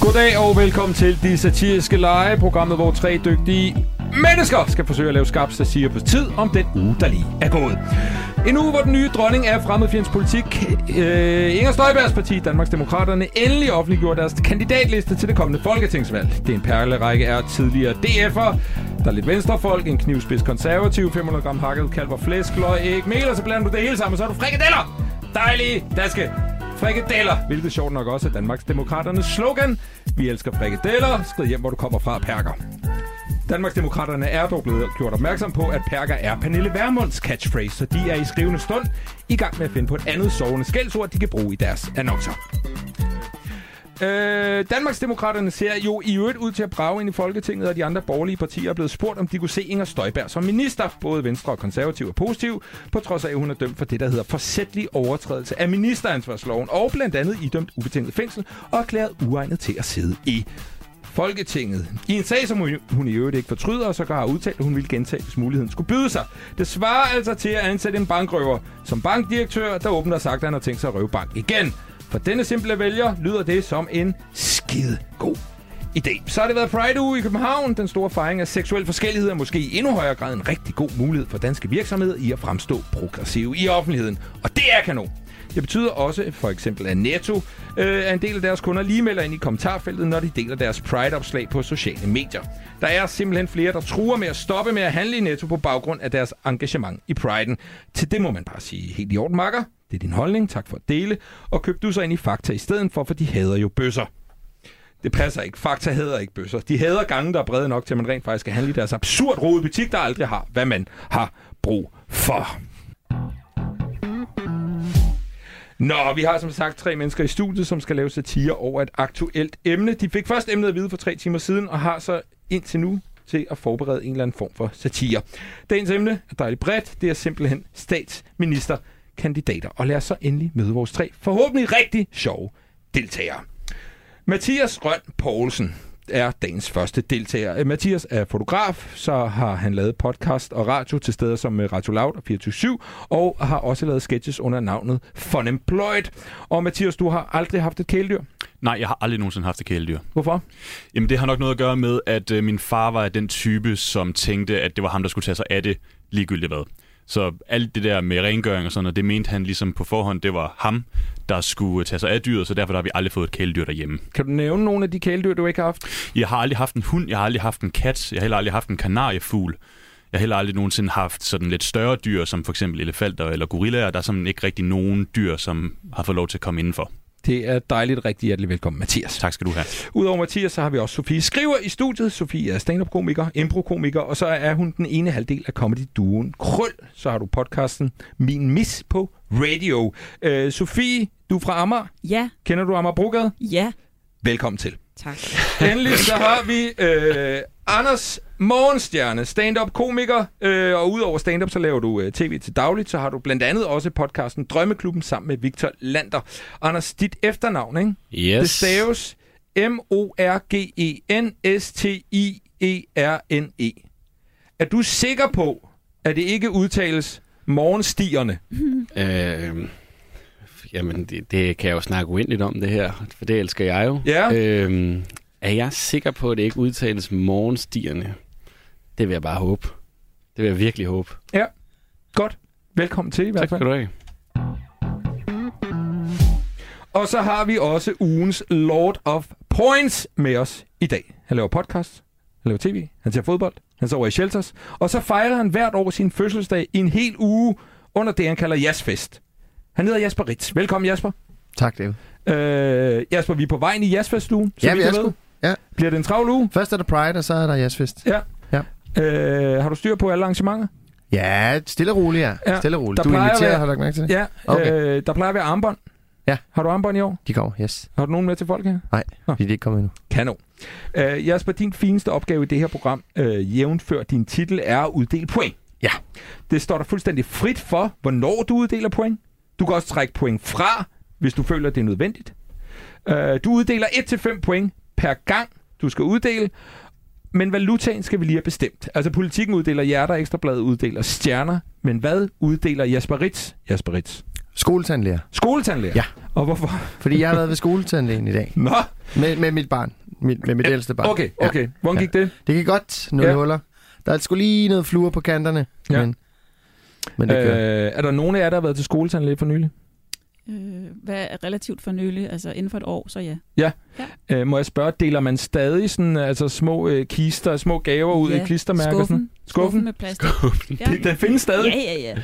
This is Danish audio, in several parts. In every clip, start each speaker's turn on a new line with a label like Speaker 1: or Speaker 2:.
Speaker 1: Goddag og velkommen til De Satiriske Lege, programmet, hvor tre dygtige mennesker skal forsøge at lave skarp satire på tid om den uge, der lige er gået. En uge, hvor den nye dronning af fremmedfjends politik, øh, Inger Støjbergs parti, Danmarks Demokraterne, endelig offentliggjorde deres kandidatliste til det kommende folketingsvalg. Det er en perlerække af tidligere DF'er, der er lidt venstrefolk, en knivspids konservativ, 500 gram hakket kalver flæsk, løg, æg, mel, og så blander du det hele sammen, og så er du frikadeller! Dejlige danske Frikadeller, hvilket sjovt nok også er Danmarks Demokraternes slogan. Vi elsker frikadeller. Skrid hjem, hvor du kommer fra, Perker. Danmarks Demokraterne er dog blevet gjort opmærksom på, at Perker er Pernille Vermunds catchphrase, så de er i skrivende stund i gang med at finde på et andet sovende skældsord, de kan bruge i deres annoncer. Øh, Danmarksdemokraterne ser jo i øvrigt ud til at brage ind i Folketinget, og de andre borgerlige partier er blevet spurgt, om de kunne se Inger Støjberg som minister. Både Venstre og Konservativ er positiv, på trods af, at hun er dømt for det, der hedder forsætlig overtrædelse af ministeransvarsloven, og blandt andet idømt ubetinget fængsel og erklæret uegnet til at sidde i Folketinget. I en sag, som hun, hun i øvrigt ikke fortryder, og så har udtalt, at hun ville gentage, hvis muligheden skulle byde sig. Det svarer altså til at ansætte en bankrøver som bankdirektør, der åbent har sagt, at han har tænkt sig at røve bank igen. For denne simple vælger lyder det som en skide god idé. Så har det været Pride-uge i København. Den store fejring af seksuel forskellighed er måske i endnu højere grad en rigtig god mulighed for danske virksomheder i at fremstå progressive i offentligheden. Og det er kanon. Det betyder også, for eksempel at Netto, øh, at en del af deres kunder lige melder ind i kommentarfeltet, når de deler deres Pride-opslag på sociale medier. Der er simpelthen flere, der truer med at stoppe med at handle i Netto på baggrund af deres engagement i Pride'en. Til det må man bare sige helt i orden, makker. Det er din holdning, tak for at dele, og køb du så ind i Fakta i stedet for, for de hader jo bøsser. Det passer ikke. Fakta hedder ikke bøsser. De hader gange, der er brede nok til, at man rent faktisk skal handle i deres absurd rode butik, der aldrig har, hvad man har brug for. Nå, vi har som sagt tre mennesker i studiet, som skal lave satire over et aktuelt emne. De fik først emnet at vide for tre timer siden, og har så indtil nu til at forberede en eller anden form for satire. Dagens emne er dejligt bredt. Det er simpelthen statsministerkandidater. Og lad os så endelig møde vores tre forhåbentlig rigtig sjove deltagere. Mathias Røn Poulsen er dagens første deltager. Øh, Mathias er fotograf, så har han lavet podcast og radio til steder som øh, Radio Loud og 24 og har også lavet sketches under navnet Fun Employed. Og Mathias, du har aldrig haft et kæledyr.
Speaker 2: Nej, jeg har aldrig nogensinde haft et kæledyr.
Speaker 1: Hvorfor?
Speaker 2: Jamen, det har nok noget at gøre med, at øh, min far var den type, som tænkte, at det var ham, der skulle tage sig af det, ligegyldigt hvad. Så alt det der med rengøring og sådan noget, det mente han ligesom på forhånd, det var ham, der skulle øh, tage sig af dyret, så derfor har vi aldrig fået et kæledyr derhjemme.
Speaker 1: Kan du nævne nogle af de kæledyr, du ikke har haft?
Speaker 2: Jeg har aldrig haft en hund, jeg har aldrig haft en kat, jeg har heller aldrig haft en kanariefugl. Jeg har heller aldrig nogensinde haft sådan lidt større dyr, som for eksempel elefanter eller gorillaer. Der er sådan ikke rigtig nogen dyr, som har fået lov til at komme indenfor.
Speaker 1: Det er dejligt rigtig hjertelig velkommen, Mathias.
Speaker 2: Tak skal du have.
Speaker 1: Udover Mathias, så har vi også Sofie Skriver i studiet. Sofie er stand-up-komiker, impro-komiker, og så er hun den ene halvdel af comedy-duen Krøl. Så har du podcasten Min Mis på radio. Øh, Sofie, du er fra Amager.
Speaker 3: Ja,
Speaker 1: Kender du Amager Brogade?
Speaker 3: ja,
Speaker 1: Velkommen til.
Speaker 3: tak.
Speaker 1: Endelig så har vi øh, Anders Morgenstjerne, stand-up-komiker, øh, og udover stand-up, så laver du øh, tv til dagligt, så har du blandt andet også podcasten Drømmeklubben sammen med Victor Lander. Anders, dit efternavn, ikke?
Speaker 4: Yes.
Speaker 1: Det staves E M-O-R-G-E-N-S-T-I-E-R-N-E. E. Er du sikker på, at det ikke udtales morgenstierne?
Speaker 4: Øh, jamen, det, det kan jeg jo snakke uendeligt om, det her. For det elsker jeg jo.
Speaker 1: Ja.
Speaker 4: Øh, er jeg sikker på, at det ikke udtales morgenstierne? Det vil jeg bare håbe. Det vil jeg virkelig håbe.
Speaker 1: Ja. Godt. Velkommen til i hvert
Speaker 4: Tak
Speaker 1: fald.
Speaker 4: skal du have.
Speaker 1: Og så har vi også ugens Lord of Points med os i dag. Han laver podcast, han laver tv, han ser fodbold, han sover i shelters, og så fejrer han hvert år sin fødselsdag i en hel uge under det, han kalder Jasfest. Han hedder Jasper Ritz. Velkommen, Jasper.
Speaker 5: Tak, David.
Speaker 1: Øh, Jasper, vi er på vej ind i Jazzfest-ugen. så
Speaker 5: Ja,
Speaker 1: vidt
Speaker 5: vi
Speaker 1: jeg
Speaker 5: er
Speaker 1: ved.
Speaker 5: sgu. Ja.
Speaker 1: Bliver det en travl uge?
Speaker 5: Først er der Pride, og så er der jazzfest.
Speaker 1: Ja.
Speaker 5: Ja.
Speaker 1: Øh, har du styr på alle arrangementer?
Speaker 5: Ja, stille og roligt, ja.
Speaker 1: Ja,
Speaker 5: ja. Stille og roligt.
Speaker 1: der
Speaker 5: Du
Speaker 1: plejer at
Speaker 5: inviterer,
Speaker 1: være-
Speaker 5: har du ikke mærke til det?
Speaker 1: Ja.
Speaker 5: Okay.
Speaker 1: Øh, der plejer at være armbånd.
Speaker 5: Ja.
Speaker 1: Har du armbånd i år?
Speaker 5: De kommer, yes.
Speaker 1: Har du nogen med til folk her?
Speaker 5: Nej,
Speaker 1: Nå.
Speaker 5: de er ikke kommet endnu.
Speaker 1: Kanon. Øh, Jasper, din fineste opgave i det her program, øh, jævnfør din titel, er at uddele point.
Speaker 5: Ja.
Speaker 1: Det står dig fuldstændig frit for, hvornår du uddeler point. Du kan også trække point fra, hvis du føler, det er nødvendigt. Øh, du uddeler 1-5 point per gang, du skal uddele. Men valutaen skal vi lige have bestemt. Altså politikken uddeler hjerter, ekstrabladet uddeler stjerner. Men hvad uddeler Jasper Ritz? Jasper Ritz.
Speaker 5: Skoletandlæger.
Speaker 1: Skoletandlæger?
Speaker 5: Ja.
Speaker 1: Og hvorfor?
Speaker 5: Fordi jeg har været ved skoletandlægen i dag.
Speaker 1: Nå,
Speaker 5: Med, med mit barn. Mit, med mit ældste barn.
Speaker 1: okay, okay. Hvordan gik det?
Speaker 5: Det gik godt. Nul
Speaker 1: Ja.
Speaker 5: ja. huller. Der er sgu lige noget fluer på kanterne.
Speaker 1: Ja.
Speaker 5: Men, men det gør.
Speaker 1: Øh, er der nogen af jer, der har været til skoletandlæge for nylig?
Speaker 3: Øh, hvad er relativt for nylig, altså inden for et år, så ja.
Speaker 1: Øh, må jeg spørge, deler man stadig sådan, altså, små øh, kister, små gaver ud
Speaker 3: ja.
Speaker 1: i klistermærker? og Sådan?
Speaker 3: Skuffen. Skuffen
Speaker 1: Skuffen?
Speaker 3: med plastik. Ja.
Speaker 1: Det, den findes stadig.
Speaker 3: ja, ja,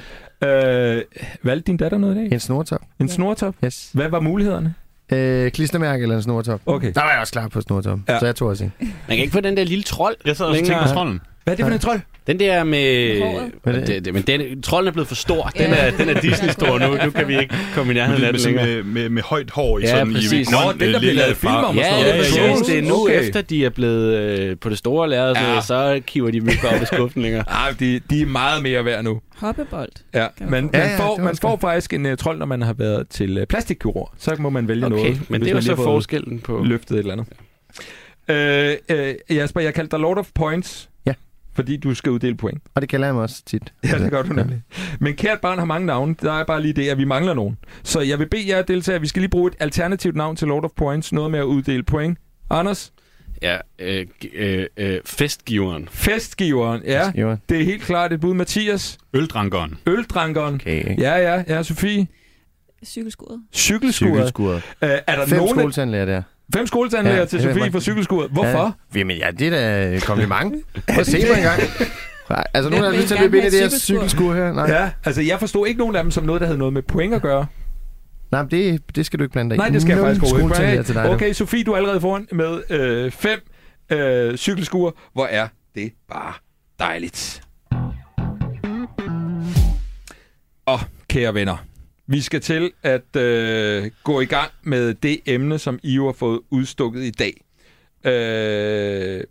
Speaker 3: ja.
Speaker 1: Øh, valgte din datter noget i dag?
Speaker 5: En snortop.
Speaker 1: En
Speaker 3: Ja.
Speaker 1: snortop?
Speaker 5: Yes.
Speaker 1: Hvad var mulighederne?
Speaker 5: Øh, klistermærke eller en snortop.
Speaker 1: Okay.
Speaker 5: Der var jeg også klar på snortop.
Speaker 1: Ja.
Speaker 5: Ja. Så jeg tog også en.
Speaker 4: Man kan ikke få den der lille trold.
Speaker 2: Jeg sad også og tænkte
Speaker 4: Længere.
Speaker 2: på trolden.
Speaker 1: Hvad er det for en trold?
Speaker 4: Den der med...
Speaker 3: Håret.
Speaker 5: Hvad er
Speaker 4: med
Speaker 5: det?
Speaker 4: det, det, men den, trolden er blevet for stor.
Speaker 3: Ja,
Speaker 4: Den er, den er
Speaker 3: det er
Speaker 4: Disney-stor
Speaker 3: godt.
Speaker 4: nu. Nu kan vi ikke komme i nærheden
Speaker 2: Med, med,
Speaker 4: af den
Speaker 2: sådan,
Speaker 4: længere.
Speaker 2: ligesom med, med, med højt hår i
Speaker 4: Ja,
Speaker 2: sådan i
Speaker 4: præcis. Nå,
Speaker 2: grøn,
Speaker 1: den, der bliver
Speaker 2: øh, lille
Speaker 1: lavet film om og
Speaker 2: farve.
Speaker 1: sådan noget.
Speaker 4: Ja, det
Speaker 2: ja,
Speaker 1: præcis.
Speaker 2: ja.
Speaker 4: er præcis. Det er nu
Speaker 1: Okay.
Speaker 4: okay. efter, de er blevet øh, på det store lærred,
Speaker 1: Ja.
Speaker 4: ja. så kiver de dem ikke op i skuffen længere.
Speaker 1: Ah, de, de er meget mere værd nu.
Speaker 3: Hoppebold.
Speaker 1: Ja,
Speaker 3: Kan
Speaker 1: man,
Speaker 3: man
Speaker 1: man,
Speaker 3: få.
Speaker 5: Ja, ja,
Speaker 1: får,
Speaker 5: det var
Speaker 1: man
Speaker 5: også
Speaker 1: får faktisk en uh, trold, når man har været til uh, plastikkirurg. Så må man vælge noget.
Speaker 4: Okay,
Speaker 1: hvis
Speaker 4: men det er jo
Speaker 1: man
Speaker 4: så
Speaker 1: lige har fået
Speaker 4: forskellen på...
Speaker 1: Løftet et eller andet. Øh, øh, Jasper, jeg kaldte dig Lord of Points.
Speaker 5: Ja.
Speaker 1: Fordi du skal uddele point.
Speaker 5: Og det kalder jeg mig også tit.
Speaker 1: Ja, det gør du nemlig. Men kært barn har mange navne. Der er bare lige det, at vi mangler nogen. Så jeg vil bede jer deltagere, vi skal lige bruge et alternativt navn til Lord of Points. Noget med at uddele point. Anders,
Speaker 4: Ja, øh, g- øh, øh, festgiveren.
Speaker 1: festgiveren. Ja,
Speaker 5: Ja.
Speaker 1: det er helt klart et bud. Mathias,
Speaker 2: Øldrankeren.
Speaker 1: øldrankeren.
Speaker 5: Okay. ikke?
Speaker 1: Ja, ja, ja, Sofie.
Speaker 3: Cykelskuret.
Speaker 1: Cykelskuret. Øh, er der
Speaker 5: Fem
Speaker 1: nogen af-
Speaker 5: skoletandlæger der.
Speaker 1: Fem skoletandlæger ja,
Speaker 5: Ja,
Speaker 1: til
Speaker 5: det er
Speaker 1: Sofie
Speaker 5: rigtigt.
Speaker 1: fra cykelskuret. Hvorfor? Ja.
Speaker 5: Ja. Jamen, ja, det er da et kompliment. Prøv at se mig engang. Nej, altså, nogen har
Speaker 3: vil
Speaker 5: lyst til at
Speaker 3: gerne
Speaker 5: løbe ind i det
Speaker 3: have
Speaker 5: her
Speaker 3: et cykelskur?
Speaker 5: cykelskur her. Nej, ja.
Speaker 1: Ja, altså jeg forstod ikke nogen af dem som noget, der havde noget med point at gøre.
Speaker 5: Nej men det, det skal du ikke blande dig i.
Speaker 1: Nej, det skal jeg
Speaker 5: Nogen
Speaker 1: faktisk overhovedet
Speaker 5: skoletandlæger
Speaker 1: ikke.
Speaker 5: til dig.
Speaker 1: Okay,
Speaker 5: du.
Speaker 1: okay, Sofie, du er allerede foran med øh, fem øh, cykelskuer. Hvor er det bare dejligt. Og kære venner, vi skal til at øh, gå i gang med det emne, som I jo har fået udstukket i dag. Øh,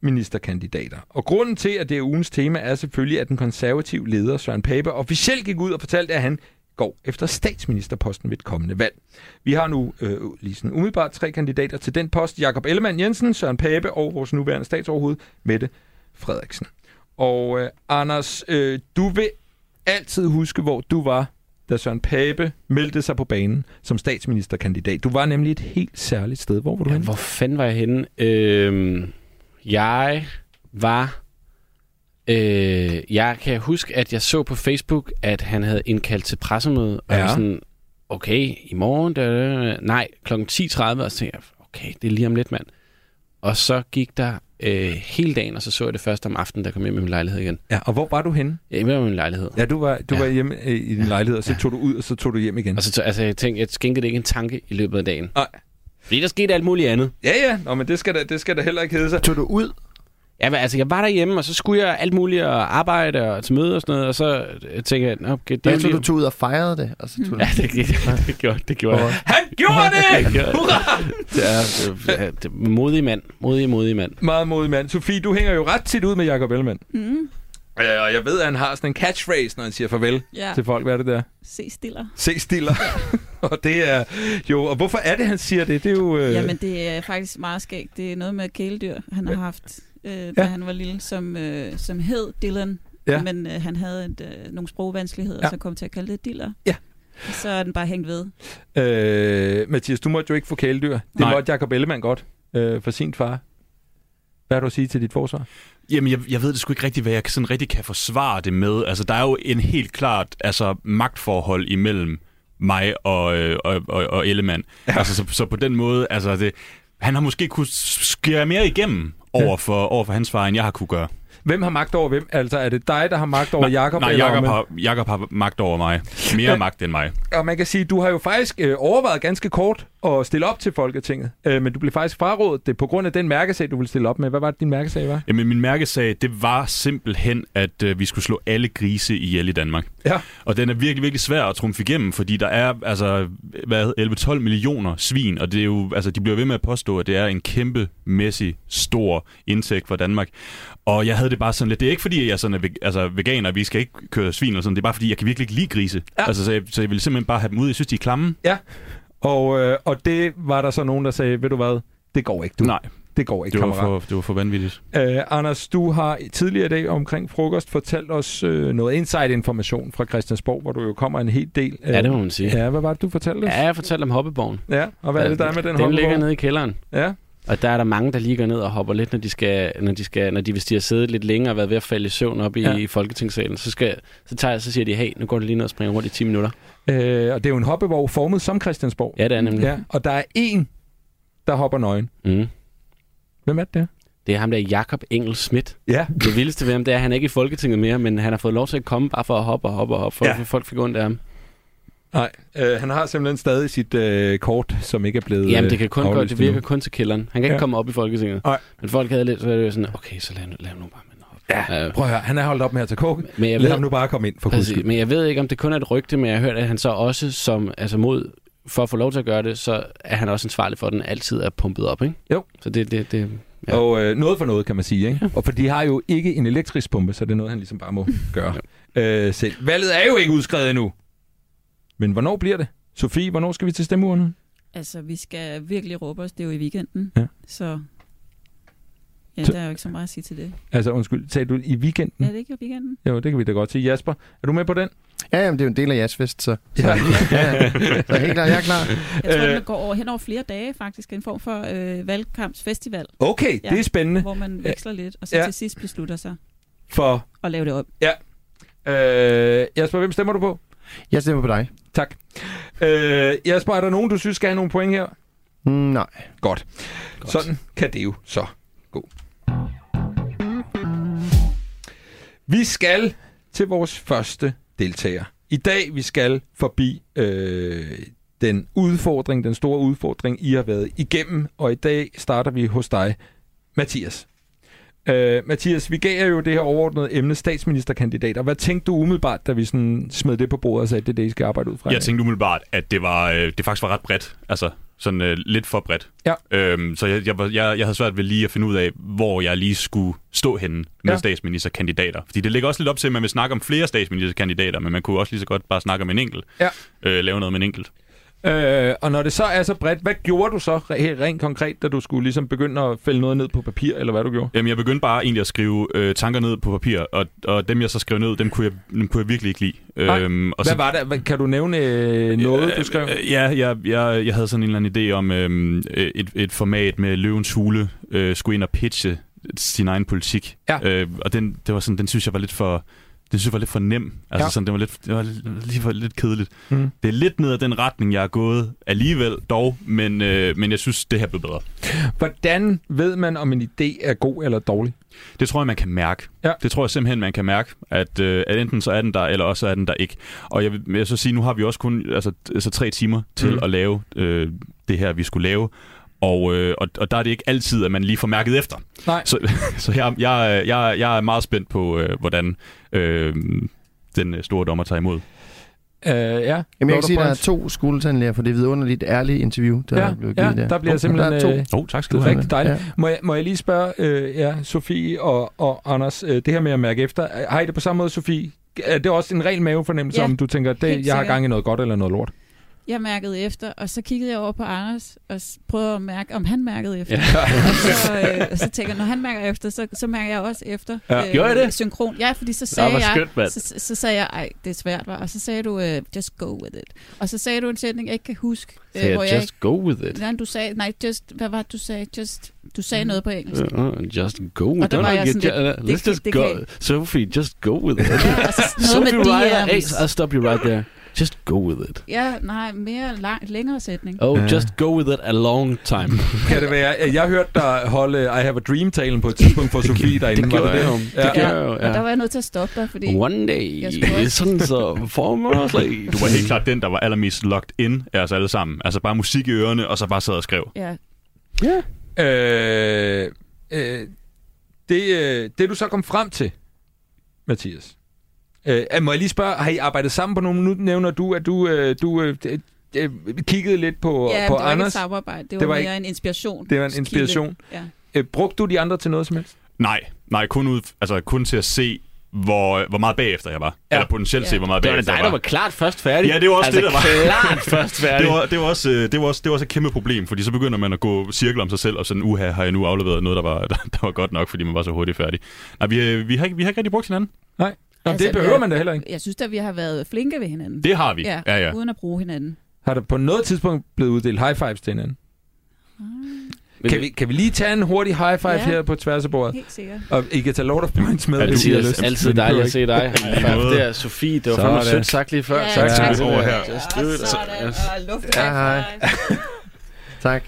Speaker 1: statsministerkandidater. Og grunden til, at det er ugens tema, er selvfølgelig, at den konservative leder Søren Pape officielt gik ud og fortalte, at han går efter statsministerposten ved et kommende valg. Vi har nu øh, lige sådan umiddelbart tre kandidater til den post. Jakob Ellemann Jensen, Søren Pape og vores nuværende statsoverhoved, Mette Frederiksen. Og øh, Anders, øh, du vil altid huske, hvor du var, da Søren Pape meldte sig på banen som statsministerkandidat. Du var nemlig et helt særligt sted. Hvor var du ja,
Speaker 4: Ja,
Speaker 1: henne?
Speaker 4: hvor fanden var jeg henne? Øhm, jeg var... Øh, jeg kan huske, at jeg så på Facebook, at han havde indkaldt til pressemøde, og
Speaker 1: Ja.
Speaker 4: ja. sådan, okay, i morgen, da, da, da, nej, kl. 10.30, og så tænkte jeg, okay, det er lige om lidt, mand. Og så gik der øh, hele dagen, og så så jeg det først om aftenen, der kom hjem i min lejlighed igen.
Speaker 1: Ja, og hvor var du henne?
Speaker 4: Jeg var i min lejlighed.
Speaker 1: Ja, du var, du ja.
Speaker 4: Ja.
Speaker 1: var hjemme øh, i din lejlighed, og så tog du ud, og så tog du hjem igen.
Speaker 4: Og så, tog- altså, jeg tænkte, jeg skænkede det ikke en tanke i løbet af dagen.
Speaker 1: Nej.
Speaker 4: Fordi der skete alt muligt andet.
Speaker 1: Ja, ja. Nå, men det skal da, det skal da heller ikke hedde sig.
Speaker 5: Tog du ud?
Speaker 4: Ja, men altså, jeg var derhjemme, og så skulle jeg alt muligt og arbejde og til møde og sådan noget, og så øh, tænkte jeg, "Nå, okay, det er
Speaker 5: Jeg
Speaker 4: jo
Speaker 5: tog
Speaker 4: lige...
Speaker 5: du tog ud og fejrede det. Og så tog du...
Speaker 4: Ja, det, det, det, gjorde, det gjorde jeg.
Speaker 1: Han gjorde det! Hurra!
Speaker 4: Ja, det, ja, det, modig mand. Modig, modig mand.
Speaker 1: Meget modig mand. Sofie, du hænger jo ret tit ud med Jacob Ellemann.
Speaker 3: Mm.
Speaker 1: Ja, og jeg ved, at han har sådan en catchphrase, når han siger farvel
Speaker 3: Ja,
Speaker 1: ja. til folk. Hvad er det der?
Speaker 3: se stiller.
Speaker 1: Se stiller. og det er jo... Og hvorfor er det, han siger det? Det er jo... Øh,
Speaker 3: Jamen, det er faktisk meget skægt. Det er noget med kæledyr, han har haft, øh, da
Speaker 1: Ja.
Speaker 3: han var lille, som, øh, som hed Dylan.
Speaker 1: Ja.
Speaker 3: Men øh, han havde et, øh, nogle sprogvanskeligheder,
Speaker 1: Ja.
Speaker 3: ja. så kom til at kalde det Diller.
Speaker 1: Ja.
Speaker 3: Og så er den bare hængt ved.
Speaker 1: øh, Mathias, du måtte jo ikke få kæledyr. Det
Speaker 2: Nej.
Speaker 1: måtte Jacob Ellemann godt øh, for sin far. Hvad har du at sige til dit forsvar?
Speaker 2: Jamen, jeg, jeg ved det sgu ikke rigtigt, hvad jeg sådan rigtig kan forsvare det med. Altså, der er jo en helt klart altså, magtforhold imellem mig og, øh, og, og, og Ellemann. Ja. Altså, så, så på den måde, altså, det, han har måske kunne skære mere igennem over for, over for hans far, end jeg har kunne gøre.
Speaker 1: Hvem har magt over hvem? Altså, er det dig, der har magt over Jacob?
Speaker 2: Nej,
Speaker 1: eller
Speaker 2: Jakob
Speaker 1: omvendt?
Speaker 2: har, Jacob har magt over mig. Mere
Speaker 1: Ja.
Speaker 2: magt end mig.
Speaker 1: Og man kan sige, du har jo faktisk øh, overvejet ganske kort at stille op til Folketinget, øh, men du blev faktisk frarådet det på grund af den mærkesag, du ville stille op med. Hvad var det, din mærkesag var?
Speaker 2: Jamen, min mærkesag, det var simpelthen, at øh, vi skulle slå alle grise ihjel i Danmark.
Speaker 1: Ja.
Speaker 2: Og den er virkelig, virkelig svær at trumfe igennem, fordi der er altså hvad, 11-12 millioner svin, og det er jo, altså, de bliver ved med at påstå, at det er en kæmpe mæssig stor indtægt for Danmark. Og jeg havde det bare sådan lidt, det er ikke fordi, jeg sådan er veg- altså, veganer, vi skal ikke køre svin eller sådan, det er bare fordi, jeg kan virkelig ikke lide grise.
Speaker 1: Ja.
Speaker 2: Altså, så, jeg, så jeg ville simpelthen bare have dem ud, jeg synes, de er klamme.
Speaker 1: Og, øh, og det var der så nogen, der sagde, ved du hvad, det går ikke, du.
Speaker 2: Nej,
Speaker 1: Det går ikke,
Speaker 2: Det var,
Speaker 1: kammerat.
Speaker 2: for, det var for vanvittigt.
Speaker 1: Øh, Anders, du har tidligere i dag omkring frokost fortalt os øh, noget insight-information fra Christiansborg, hvor du jo kommer en hel del. Øh,
Speaker 4: Ja, det må man sige.
Speaker 1: Ja, hvad var det, du fortalte os?
Speaker 4: Ja, jeg fortalte om hoppeborgen.
Speaker 1: ja og hvad er det, der er med den
Speaker 4: Den
Speaker 1: hoppebog?
Speaker 4: ligger nede i kælderen.
Speaker 1: Ja,
Speaker 4: Og der er der mange, der lige går ned og hopper lidt, når de, skal, når de, skal, når de hvis de har siddet lidt længere og været ved at falde i søvn op i,
Speaker 1: Ja.
Speaker 4: ja. i Folketingssalen, så, skal, så, tager, så siger de, hey, nu går du lige ned og springer rundt i 10 minutter.
Speaker 1: øh, og det er jo en hoppevog formet som Christiansborg.
Speaker 4: Ja, det er nemlig. Ja.
Speaker 1: ja og der er én, der hopper nøgen.
Speaker 4: Mm.
Speaker 1: Hvem er det? der?
Speaker 4: Det er ham der, Jakob Engel Schmidt.
Speaker 1: Ja,
Speaker 4: Det vildeste ved ham, det er, at han er ikke i Folketinget mere, men han har fået lov til at komme bare for at hoppe og hoppe og hoppe, for
Speaker 1: Ja.
Speaker 4: ja. folk fik ondt af ham.
Speaker 1: nej. Øh, han har simpelthen stadig sit øh, kort, som ikke er blevet
Speaker 4: Jamen, det kan kun
Speaker 1: øh,
Speaker 4: godt,
Speaker 1: aflyst
Speaker 4: det virker
Speaker 1: endnu.
Speaker 4: kun til kælderen. Han kan ikke
Speaker 1: Ja.
Speaker 4: ja. komme op i Folketinget.
Speaker 1: Nej.
Speaker 4: Men folk havde lidt, så er det jo sådan, okay, så lad, nu- lad nu bare med at hoppe. Ja.
Speaker 1: Prøv at høre, han er holdt op med at tage koke.
Speaker 4: men jeg
Speaker 1: Lad
Speaker 4: ved,
Speaker 1: ham nu bare komme ind, for guds
Speaker 4: Præcis,
Speaker 1: skyld.
Speaker 4: men jeg ved ikke, om det kun er et rygte, men jeg har hørt, at han så også som, altså mod, for at få lov til at gøre det, så er han også ansvarlig for, at den altid er pumpet op, ikke?
Speaker 1: Jo.
Speaker 4: Så det, det, det
Speaker 1: Ja.
Speaker 4: Ja.
Speaker 1: Og øh, noget for noget, kan man sige. Ikke? Og for de har jo ikke en elektrisk pumpe, så det er noget, han ligesom bare må gøre øh, selv. Valget er jo ikke udskrevet endnu. Men hvornår bliver det? Sofie, hvornår skal vi til stemmeurene?
Speaker 3: Altså, vi skal virkelig råbe os. Det er jo i weekenden.
Speaker 1: Ja.
Speaker 3: Så ja,
Speaker 1: Så- Mm.
Speaker 3: der er jo ikke så meget at sige til det.
Speaker 1: Altså, undskyld, sagde du i weekenden?
Speaker 3: Er
Speaker 1: Ja.
Speaker 3: det ikke i weekenden?
Speaker 1: Jo, det kan vi da godt sige. Jasper, er du med på den?
Speaker 5: Ja, jamen, det er jo en del af jeres fest, så. så
Speaker 1: Ja.
Speaker 5: ja. ja. Så helt klart, jeg er klar.
Speaker 3: Jeg tror,
Speaker 1: Øh.
Speaker 3: øh... den går over, hen over flere dage faktisk. En form for øh, valgkampsfestival,
Speaker 1: Okay, ja.
Speaker 3: Ja.
Speaker 1: det er spændende.
Speaker 3: hvor man veksler lidt, og så
Speaker 1: Ja.
Speaker 3: ja. til sidst beslutter sig
Speaker 1: For
Speaker 3: at lave det op.
Speaker 1: øh, Jasper, hvem stemmer du på?
Speaker 5: Jeg stemmer på dig.
Speaker 1: Tak. Øh, Jasper, er der nogen, du synes skal have nogle point her?
Speaker 5: Mm, nej.
Speaker 1: Godt. Godt. Sådan kan det jo så gå. Vi skal til vores første deltager. I dag vi skal forbi øh, den udfordring, den store udfordring, I har været igennem. Og i dag starter vi hos dig, Mathias. Øh, Mathias, vi gav jer jo det her overordnede emne statsministerkandidater. Hvad tænkte du umiddelbart, da vi sådan smed det på bordet og sagde, at det er det, I skal arbejde ud fra?
Speaker 2: Jeg tænkte umiddelbart, at det, var, øh, det faktisk var ret bredt. Altså, sådan øh, lidt for bredt.
Speaker 1: Ja.
Speaker 2: Øhm, så jeg, jeg, var- jeg, jeg havde svært ved lige at finde ud af, hvor jeg lige skulle stå henne med
Speaker 1: Ja.
Speaker 2: ja. statsministerkandidater. Fordi det ligger også lidt op til, at man vil snakke om flere statsministerkandidater, men man kunne også lige så godt bare snakke om en enkelt.
Speaker 1: Ja.
Speaker 2: Øh, lave noget med en enkelt.
Speaker 1: Øh, og når det så er så bredt, hvad gjorde du så re- helt rent konkret, da du skulle ligesom begynde at fælde noget ned på papir, eller hvad du gjorde?
Speaker 2: Jamen, Øhm, jeg begyndte bare egentlig at skrive øh, tanker ned på papir, og, og dem, jeg så skrev ned, dem kunne jeg, dem kunne jeg virkelig ikke lide. Øhm,
Speaker 1: Nej.
Speaker 2: og
Speaker 1: Hvad var det? Hvad- Kan du nævne øh, noget, du skrev?
Speaker 2: Øh, Ja, jeg, jeg, jeg havde sådan en eller anden idé om øhm, øh, et, et format med løvens hule, øh, skulle ind og pitche sin egen politik.
Speaker 1: Ja.
Speaker 2: Øh, og den, det var sådan, den synes jeg var lidt for... Den synes jeg var lidt for nem. Altså
Speaker 1: Ja.
Speaker 2: ja. sådan, det var lidt, det var lidt- lige for lidt kedeligt.
Speaker 1: Mm.
Speaker 2: Mm. Det er lidt ned ad den retning, jeg er gået alligevel dog, men, øh, men jeg synes, det her blev bedre.
Speaker 1: Hvordan ved man, om en idé er god eller dårlig?
Speaker 2: Det tror jeg, man kan mærke.
Speaker 1: Ja.
Speaker 2: Det tror jeg simpelthen, man kan mærke, at, øh, at enten så er den der, eller også er den der ikke. Og jeg vil, jeg vil så sige, nu har vi også kun altså, t- altså tre timer til
Speaker 1: Mm.
Speaker 2: mm. at lave øh, det her, vi skulle lave. Og, øh, og, og der er det ikke altid, at man lige får mærket efter.
Speaker 1: Nej.
Speaker 2: Så, så jeg, jeg, jeg, jeg er meget spændt på, øh, hvordan øh, den øh, store dommer tager imod.
Speaker 1: Øh, ja.
Speaker 5: Jamen, jeg kan sige, at der er
Speaker 1: Points.
Speaker 5: to skuldtandlæger for det vidunderligt ærlige interview, der
Speaker 1: Ja,
Speaker 5: er blevet givet
Speaker 1: ja, der bliver
Speaker 5: Og
Speaker 1: simpelthen...
Speaker 5: Der er to.
Speaker 1: øh,
Speaker 2: Oh, tak
Speaker 1: Det er
Speaker 5: skuldtandlæger.
Speaker 1: rigtig dejligt. må, jeg, må jeg lige spørge øh, ja, Sofie og, og Anders, øh, det her med at mærke efter, øh, har I det på samme måde, Sofie? Er det også en ren mavefornemmelse,
Speaker 3: Ja,
Speaker 1: om du tænker, det,
Speaker 3: helt
Speaker 1: jeg har
Speaker 3: sikkert.
Speaker 1: gang i noget godt eller noget lort?
Speaker 3: Jeg mærkede efter, og så kiggede jeg over på Anders og s- prøvede at mærke, om han mærkede efter. Ja.
Speaker 4: Ja.
Speaker 3: og, så, øh, og så tænker jeg, når han mærker efter, så, så mærker jeg også efter. øh,
Speaker 1: Ja.
Speaker 4: Gjorde I det?
Speaker 3: Synkron. Ja, fordi så sagde
Speaker 4: hvor
Speaker 3: jeg,
Speaker 4: skønt, mand.
Speaker 3: så, så sagde jeg, ej, det er svært, var. Og så sagde du, øh, just go with it. Og så sagde du en sætning, jeg ikke kan huske. øh,
Speaker 4: Så jeg,
Speaker 3: jeg
Speaker 4: just go with it. Mm.
Speaker 3: Nej, du sagde, nej, just, hvad var det, du sagde? Just, du sagde noget på engelsk.
Speaker 4: Uh, just go with
Speaker 3: Og der var jeg
Speaker 4: it.
Speaker 3: sådan
Speaker 4: Ju-
Speaker 3: det
Speaker 4: Let's
Speaker 3: kan-
Speaker 4: just
Speaker 3: det
Speaker 4: go.
Speaker 3: kan-
Speaker 4: Sophie, just go with it.
Speaker 3: Ja, og så noget
Speaker 4: Sophie
Speaker 3: med
Speaker 4: Ryder, hey,
Speaker 3: DM's.
Speaker 4: I'll stop you right there. Just go with it.
Speaker 3: Ja, nej, mere lang, længere sætning.
Speaker 4: Oh,
Speaker 1: Ja.
Speaker 4: just go with it a long time.
Speaker 1: Kan det være? Jeg hørte dig holde I have a dream-talen på et tidspunkt for Sofie derinde.
Speaker 4: det
Speaker 1: Var
Speaker 4: gjorde jeg.
Speaker 1: Ja.
Speaker 4: Det gjorde jeg jo,
Speaker 3: Og
Speaker 4: ja.
Speaker 3: der var jeg nødt til at stoppe dig, fordi...
Speaker 4: One day,
Speaker 3: Jeg skulle også-
Speaker 4: sådan så formerly.
Speaker 2: Du var helt klart den, der var allermest locked in af os alle sammen. Altså bare musik i ørerne, og så bare sad og skrev.
Speaker 3: Ja,
Speaker 4: Ja.
Speaker 1: Øh, øh, det, øh, det du så kom frem til, Mathias. Øh, ah, må jeg lige spørge, har I arbejdet sammen på nogle? Nu nævner du, at du, øh, du øh, d- øh, kiggede lidt på,
Speaker 3: ja
Speaker 1: på
Speaker 3: men det var ikke et
Speaker 1: Anders.
Speaker 3: samarbejde. Det var,
Speaker 1: Det
Speaker 3: det
Speaker 1: var
Speaker 3: var mere
Speaker 1: ikke-
Speaker 3: en inspiration.
Speaker 1: Det var en
Speaker 3: Kilde.
Speaker 1: inspiration.
Speaker 3: Ja.
Speaker 1: Øh, brugte du de andre til noget som helst?
Speaker 2: Nej, nej kun, ud, altså kun til at se, hvor, hvor meget bagefter jeg var.
Speaker 4: Ja.
Speaker 2: Ja. Eller potentielt set,
Speaker 3: Ja.
Speaker 2: hvor meget
Speaker 4: Det var da
Speaker 2: bagefter
Speaker 4: dig,
Speaker 2: jeg
Speaker 4: der var klart først færdig.
Speaker 2: altså Ja, det var også
Speaker 4: altså,
Speaker 2: det, der var.
Speaker 4: klart først færdig.
Speaker 2: Det var, det, var også, øh, det, var også, det var også et kæmpe problem, fordi så begynder man at gå cirkel om sig selv, og sådan, uha, har jeg nu afleveret noget, der var, der, der var godt nok, fordi man var så hurtigt færdig. Nej, vi, øh, vi, har, ikke, vi har ikke rigtig brugt hinanden.
Speaker 1: Nej. Nå, altså,
Speaker 3: Altså,
Speaker 1: det behøver man da heller ikke.
Speaker 3: Jeg synes da, vi har været flinke ved hinanden.
Speaker 2: Det har vi. Ja, ja. ja.
Speaker 3: Uden at bruge hinanden.
Speaker 1: Har der på noget tidspunkt blevet uddelt high fives til hinanden?
Speaker 3: Ah,
Speaker 4: Men
Speaker 1: Kan vi, kan vi lige tage en hurtig high five
Speaker 3: Ja.
Speaker 1: ja. her på tværs af bordet?
Speaker 3: Helt sikkert.
Speaker 1: Og I kan tage Lord of Points med, hvis I har
Speaker 4: Mathias,
Speaker 1: lyst.
Speaker 4: altid
Speaker 1: Men I
Speaker 4: dejligt
Speaker 1: behøver
Speaker 4: at se dig.
Speaker 2: Ja, måde.
Speaker 4: Det er Sofie, det var
Speaker 1: Sådan.
Speaker 4: fandme sødt sagt lige før.
Speaker 3: Ja,
Speaker 4: Tak,
Speaker 1: tak.
Speaker 4: tak.
Speaker 1: Sådan.
Speaker 2: Over her.
Speaker 4: Just do it. Yes.
Speaker 3: Og luft.
Speaker 5: Ja, hej. Tak.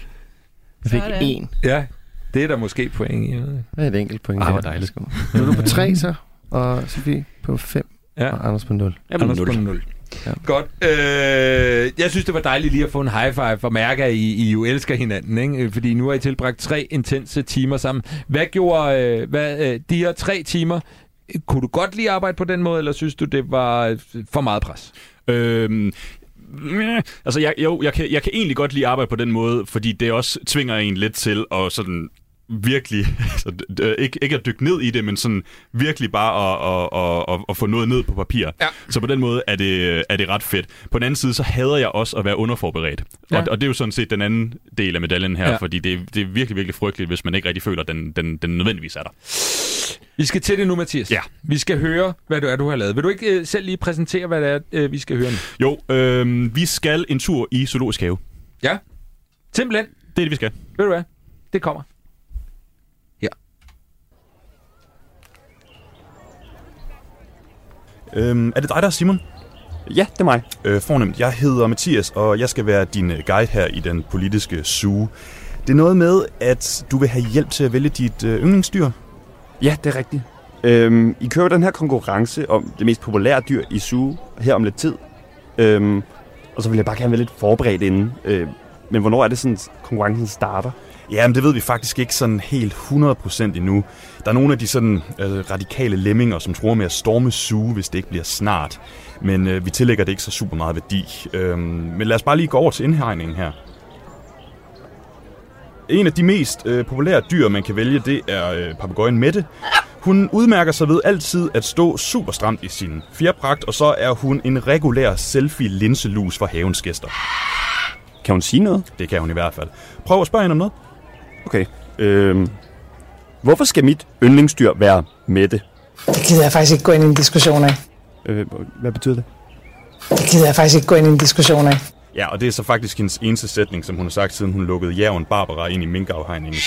Speaker 5: Jeg fik
Speaker 3: Sådan.
Speaker 5: en.
Speaker 1: ikke. Ja, det er der måske point i. jeg ved ikke.
Speaker 5: Det er et enkelt point.
Speaker 4: Ah,
Speaker 5: der.
Speaker 4: hvor dejligt.
Speaker 5: Nu er du på tre, så. Og Sofie på fem.
Speaker 1: Ja.
Speaker 5: Og Anders på nul.
Speaker 4: Jamen,
Speaker 1: Anders
Speaker 4: nul.
Speaker 1: på nul.
Speaker 5: Ja.
Speaker 1: Godt. Øh, jeg synes, det var dejligt lige at få en high five og mærke, at I, I jo elsker hinanden. Ikke? Øh, Fordi nu har I tilbragt tre intense timer sammen. Hvad gjorde øh, hvad, øh, de her tre timer? øh, Kunne du godt lide at arbejde på den måde, eller synes du, det var øh, for meget pres?
Speaker 2: Øhm, meh, altså, jeg, jo, jeg kan, jeg kan egentlig godt lide at arbejde på den måde, fordi det også tvinger en lidt til at sådan virkelig, altså, d- øh, ikke, ikke at dykke ned i det, men sådan virkelig bare at, at, at, at, at få noget ned på papir.
Speaker 1: Ja.
Speaker 2: Så på den måde er det, er det ret fedt. På den anden side, så hader jeg også at være underforberedt. Ja.
Speaker 1: Ja.
Speaker 2: Og, og det er jo sådan set den anden del af medaljen her,
Speaker 1: Ja.
Speaker 2: ja. fordi det, er- det er virkelig, virkelig frygteligt, hvis man ikke rigtig føler, at den, den, den nødvendigvis er der.
Speaker 1: Vi skal til det nu, Mathias.
Speaker 2: Ja.
Speaker 1: Vi skal høre, hvad du er, du har lavet. Vil du ikke øh, selv lige præsentere, hvad det er, øh, vi skal høre nu?
Speaker 2: Jo, øh, vi skal en tur i Zoologisk Have.
Speaker 1: Ja. Simpelthen.
Speaker 2: Det er det, vi skal.
Speaker 1: Ved du hvad? Det kommer.
Speaker 2: Øhm, er det dig, der er Simon?
Speaker 6: Ja, det er mig.
Speaker 2: Øh, fornemt. Jeg hedder Mathias, og jeg skal være din øh, guide her i den politiske suge. Det er noget med, at du vil have hjælp til at vælge dit øh, yndlingsdyr.
Speaker 6: Ja, det er rigtigt. Øhm, I kører jo den her konkurrence om det mest populære dyr i suge her om lidt tid. Øhm, og så vil jeg bare gerne være lidt forberedt inden. Øhm, men hvornår er det sådan, konkurrencen starter?
Speaker 2: Jamen, det ved vi faktisk ikke sådan helt 100% endnu. Der er nogle af de sådan øh, radikale lemminger, som tror med at storme suge, hvis det ikke bliver snart. Men øh, vi tillægger det ikke så super meget værdi. Øhm, men lad os bare lige gå over til indhegningen her. En af de mest øh, populære dyr, man kan vælge, det er øh, papegøjen Mette. Hun udmærker sig ved altid at stå super stramt i sin fjerpragt, og så er hun en regulær selfie-linselus for havens gæster.
Speaker 6: Kan hun sige noget?
Speaker 2: Det kan hun i hvert fald. Prøv at spørge hende om noget.
Speaker 6: Okay. Øhm, hvorfor skal mit yndlingsdyr være Mette?
Speaker 7: Det gider jeg faktisk ikke gå ind i en diskussion af.
Speaker 6: Øh, hvad betyder det?
Speaker 7: Det gider jeg faktisk ikke gå ind i en diskussion af.
Speaker 2: Ja, og det er så faktisk hendes eneste sætning, som hun har sagt, siden hun lukkede jævn Barbara ind i minkafhegningen.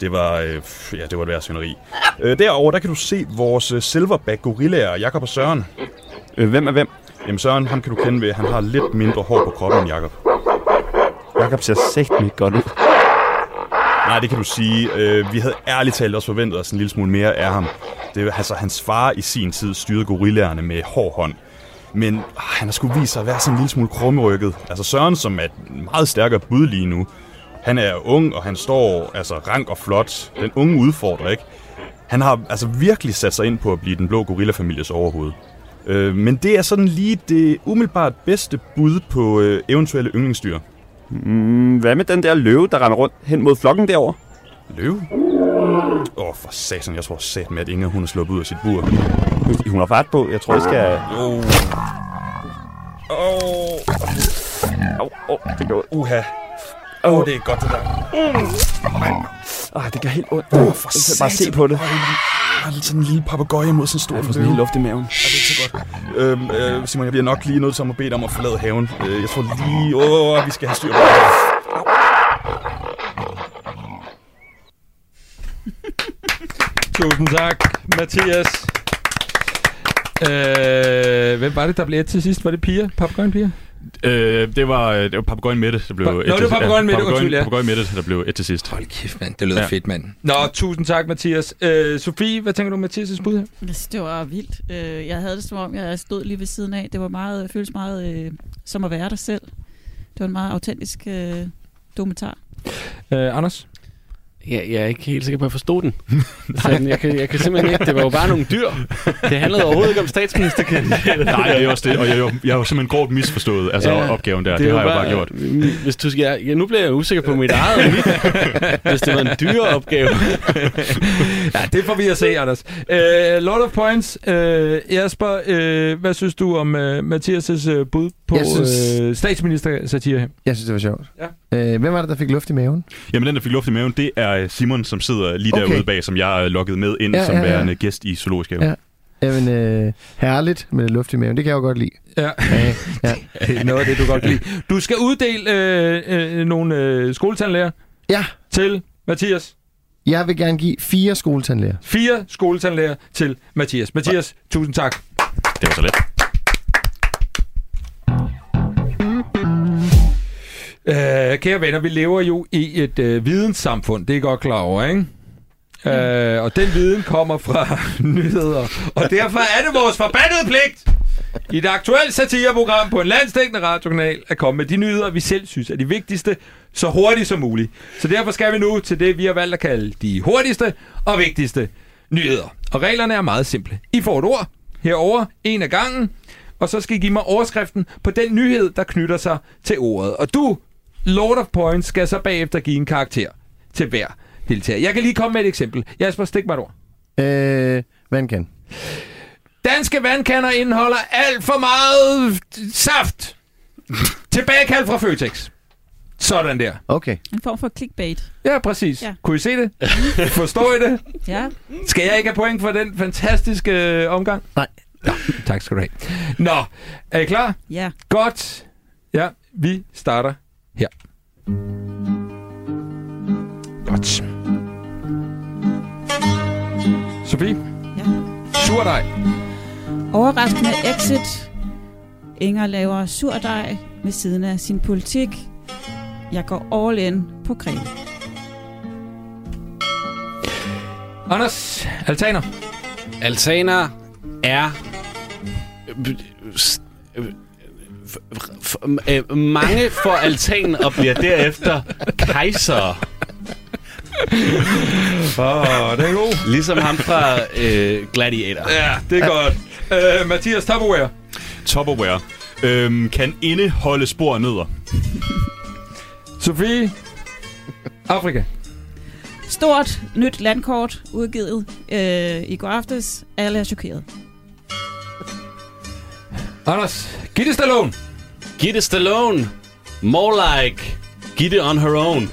Speaker 2: Det var, øh, pff, ja, det var et værd svineri. Øh, derover der kan du se vores øh, silverback gorillaer, Jakob og Søren.
Speaker 6: Øh, hvem er hvem?
Speaker 2: Jamen Søren, ham kan du kende ved, han har lidt mindre hår på kroppen end Jakob.
Speaker 6: Jakob ser sægt mig godt ud.
Speaker 2: Nej, det kan du sige. Øh, vi havde ærligt talt også forventet os en lille smule mere af ham. Det er altså hans far i sin tid styrede gorillaerne med hård hånd. Men øh, han har skulle vise sig at være sådan en lille smule krumrykket. Altså Søren, som er et meget stærkere bud lige nu. Han er ung, og han står altså rank og flot. Den unge udfordrer, ikke? Han har altså virkelig sat sig ind på at blive den blå gorillafamilies overhoved. Øh, men det er sådan lige det umiddelbart bedste bud på øh, eventuelle yndlingsdyr.
Speaker 6: Mm, hvad med den der løve, der render rundt hen mod flokken derovre?
Speaker 2: Løve? Åh, oh, for satan, jeg tror sat med, at Inger hun er sluppet ud af sit bur.
Speaker 6: Hun har fart på. Jeg tror, jeg skal...
Speaker 2: Oh. Oh.
Speaker 6: Åh, oh, oh, det gør ondt.
Speaker 2: Uha. Åh, oh, det er godt, det der.
Speaker 6: Oh, det gør helt ondt. Oh, for bare se på det.
Speaker 2: Jeg har lidt sådan en lille papegøje mod sådan en stor
Speaker 6: Jeg får sådan en lille luft i maven.
Speaker 2: øhm, øh, Simon, jeg bliver nok lige nødt til at bede dig om at forlade haven. Øh, jeg tror lige... Åh, oh, vi skal have styr på det.
Speaker 1: Tusind tak, Mathias. Øh, hvem var det, der blev et til sidst? Var det piger? Papagøjen piger?
Speaker 2: Øh, det var, det var papegøjen Mette, der blev...
Speaker 1: Nå, et det var til- ja, papegøjen Mette, papegøjen- undskyld, ja.
Speaker 2: Papegøjen Mette, der blev et til sidst.
Speaker 1: Hold kæft, mand. Det lød
Speaker 2: Ja.
Speaker 1: fedt, mand. Nå, tusind tak, Mathias. Øh, Sofie, hvad tænker du om Mathias' bud her?
Speaker 3: Altså, det var vildt. Øh, Jeg havde det som om, jeg stod lige ved siden af. Det var meget, føles meget øh, som at være dig selv. Det var en meget autentisk øh, dokumentar.
Speaker 1: Øh, Anders?
Speaker 4: Jeg, jeg er ikke helt sikker på, at jeg forstod den. Sådan, jeg, kan, jeg kan simpelthen ikke. Det var jo bare nogle dyr. Det handlede overhovedet ikke om statsministerkandidater.
Speaker 2: Nej, jeg er jo også det, og jeg er jo, jeg er jo simpelthen grovt misforstået altså ja, opgaven der. Det, det
Speaker 4: er
Speaker 2: har jeg jo bare gjort.
Speaker 4: Hvis du skal, ja, nu bliver jeg usikker på mit eget. og mit. hvis det var en dyre opgave.
Speaker 1: Ja, det får vi at se, Anders. Uh, lot of points. Uh, Jasper, uh, hvad synes du om uh, Mathias' uh, bud på
Speaker 5: Jeg synes-
Speaker 1: synes... uh, statsminister-satire her?
Speaker 5: Jeg synes, det var sjovt.
Speaker 1: Ja.
Speaker 5: Øh, hvem var det, der fik luft i maven?
Speaker 2: Jamen, den, der fik luft i maven, det er Simon, som sidder lige
Speaker 5: Okay.
Speaker 2: okay. derude bag, som jeg øh, lukkede med ind
Speaker 5: Ja,
Speaker 2: ja, som
Speaker 5: ja, ja.
Speaker 2: værende gæst i Zoologisk Have.
Speaker 5: Ja. Jamen, øh, herligt med luft i maven. Det kan jeg jo godt lide.
Speaker 1: Ja.
Speaker 5: Ja, ja.
Speaker 1: Det er noget af det, du godt kan lide. Du skal uddele øh, øh, nogle øh, skoletandlæger
Speaker 5: ja,
Speaker 1: til Mathias.
Speaker 5: jeg vil gerne give fire skoletandlæger.
Speaker 1: Fire skoletandlæger til Mathias. Mathias, tusind tak.
Speaker 2: Det var så let.
Speaker 1: Øh, kære venner, vi lever jo i et øh, videnssamfund, det er I godt klar over, ikke? Øh, og den viden kommer fra nyheder, og derfor er det vores forbandede pligt i et aktuelt satireprogram på en landstækkende radiokanal at komme med de nyheder, vi selv synes er de vigtigste, så hurtigt som muligt. Så derfor skal vi nu til det, vi har valgt at kalde de hurtigste og vigtigste nyheder. Og reglerne er meget simple. I får et ord herover en af gangen, og så skal I give mig overskriften på den nyhed, der knytter sig til ordet. Og du, Lord of Points, skal så bagefter give en karakter til hver deltager. Jeg kan lige komme med et eksempel. Jasper, stik mig et ord.
Speaker 5: Øh, vandkan.
Speaker 1: Danske vandkander indeholder alt for meget saft. Tilbagekald fra Føtex. Sådan der.
Speaker 5: Okay.
Speaker 3: En form for clickbait.
Speaker 1: Ja, præcis. Ja.
Speaker 3: Ja.
Speaker 1: Kunne I se det? Forstår I det?
Speaker 3: Ja.
Speaker 1: Skal jeg ikke have point for den fantastiske øh, omgang?
Speaker 5: Nej.
Speaker 1: Nå, tak skal du have. Nå, er I klar?
Speaker 3: Ja.
Speaker 1: Godt. Ja, vi starter her. Godt. Sofie?
Speaker 3: Ja.
Speaker 1: Surdej.
Speaker 3: Overraskende exit. Inger laver surdej ved siden af sin politik. Jeg går all in på Gren.
Speaker 1: Anders, altaner.
Speaker 4: Altaner er... øh, s- øh, f- f- øh, Mange får altan og bliver derefter kejser.
Speaker 1: Åh, oh, det er god.
Speaker 4: Ligesom ham fra øh, Gladiator.
Speaker 1: Ja, det er godt. Uh, Mathias Tupperware.
Speaker 2: Tupperware øhm, kan indeholde spor af nødder.
Speaker 1: Sofie. Afrika.
Speaker 3: Stort nyt landkort udgivet øh, i går aftes. Alle er chokeret.
Speaker 1: Anders. Gitte Stallone.
Speaker 4: Gitte Stallone. More like Gitte on her own.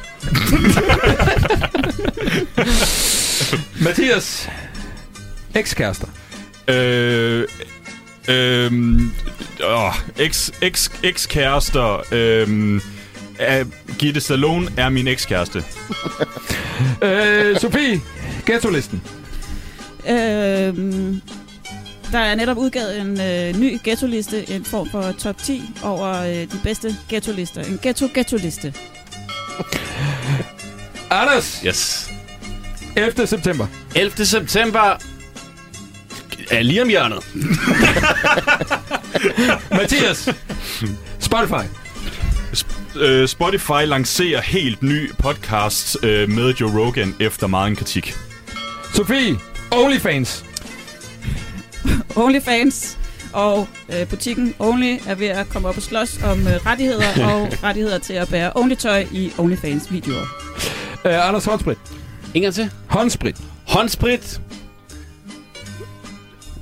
Speaker 1: Mathias. Ekskærester.
Speaker 2: Øh, øhm, åh, eks, eks, ekskærester. Øhm, er, Gitte Stallone er min ekskæreste.
Speaker 1: Uh, Sofie. Ghetto-listen.
Speaker 3: Øh, der er netop udgivet en øh, ny ghetto-liste, en form for top 10 over øh, de bedste ghetto-lister. En ghetto-ghetto-liste.
Speaker 1: Anders.
Speaker 4: Yes.
Speaker 1: 11. september.
Speaker 4: 11. september er lige om hjørnet.
Speaker 1: Mathias. Spotify.
Speaker 2: Øh, Spotify lancerer helt ny podcast øh, med Joe Rogan efter meget en kritik.
Speaker 1: Sofie. Onlyfans.
Speaker 3: OnlyFans og øh, butikken Only er ved at komme op og slås om øh, rettigheder og rettigheder til at bære Only-tøj i OnlyFans-videoer.
Speaker 1: Uh, Anders Håndsprit.
Speaker 4: En gang til.
Speaker 1: Håndsprit.
Speaker 4: Håndsprit.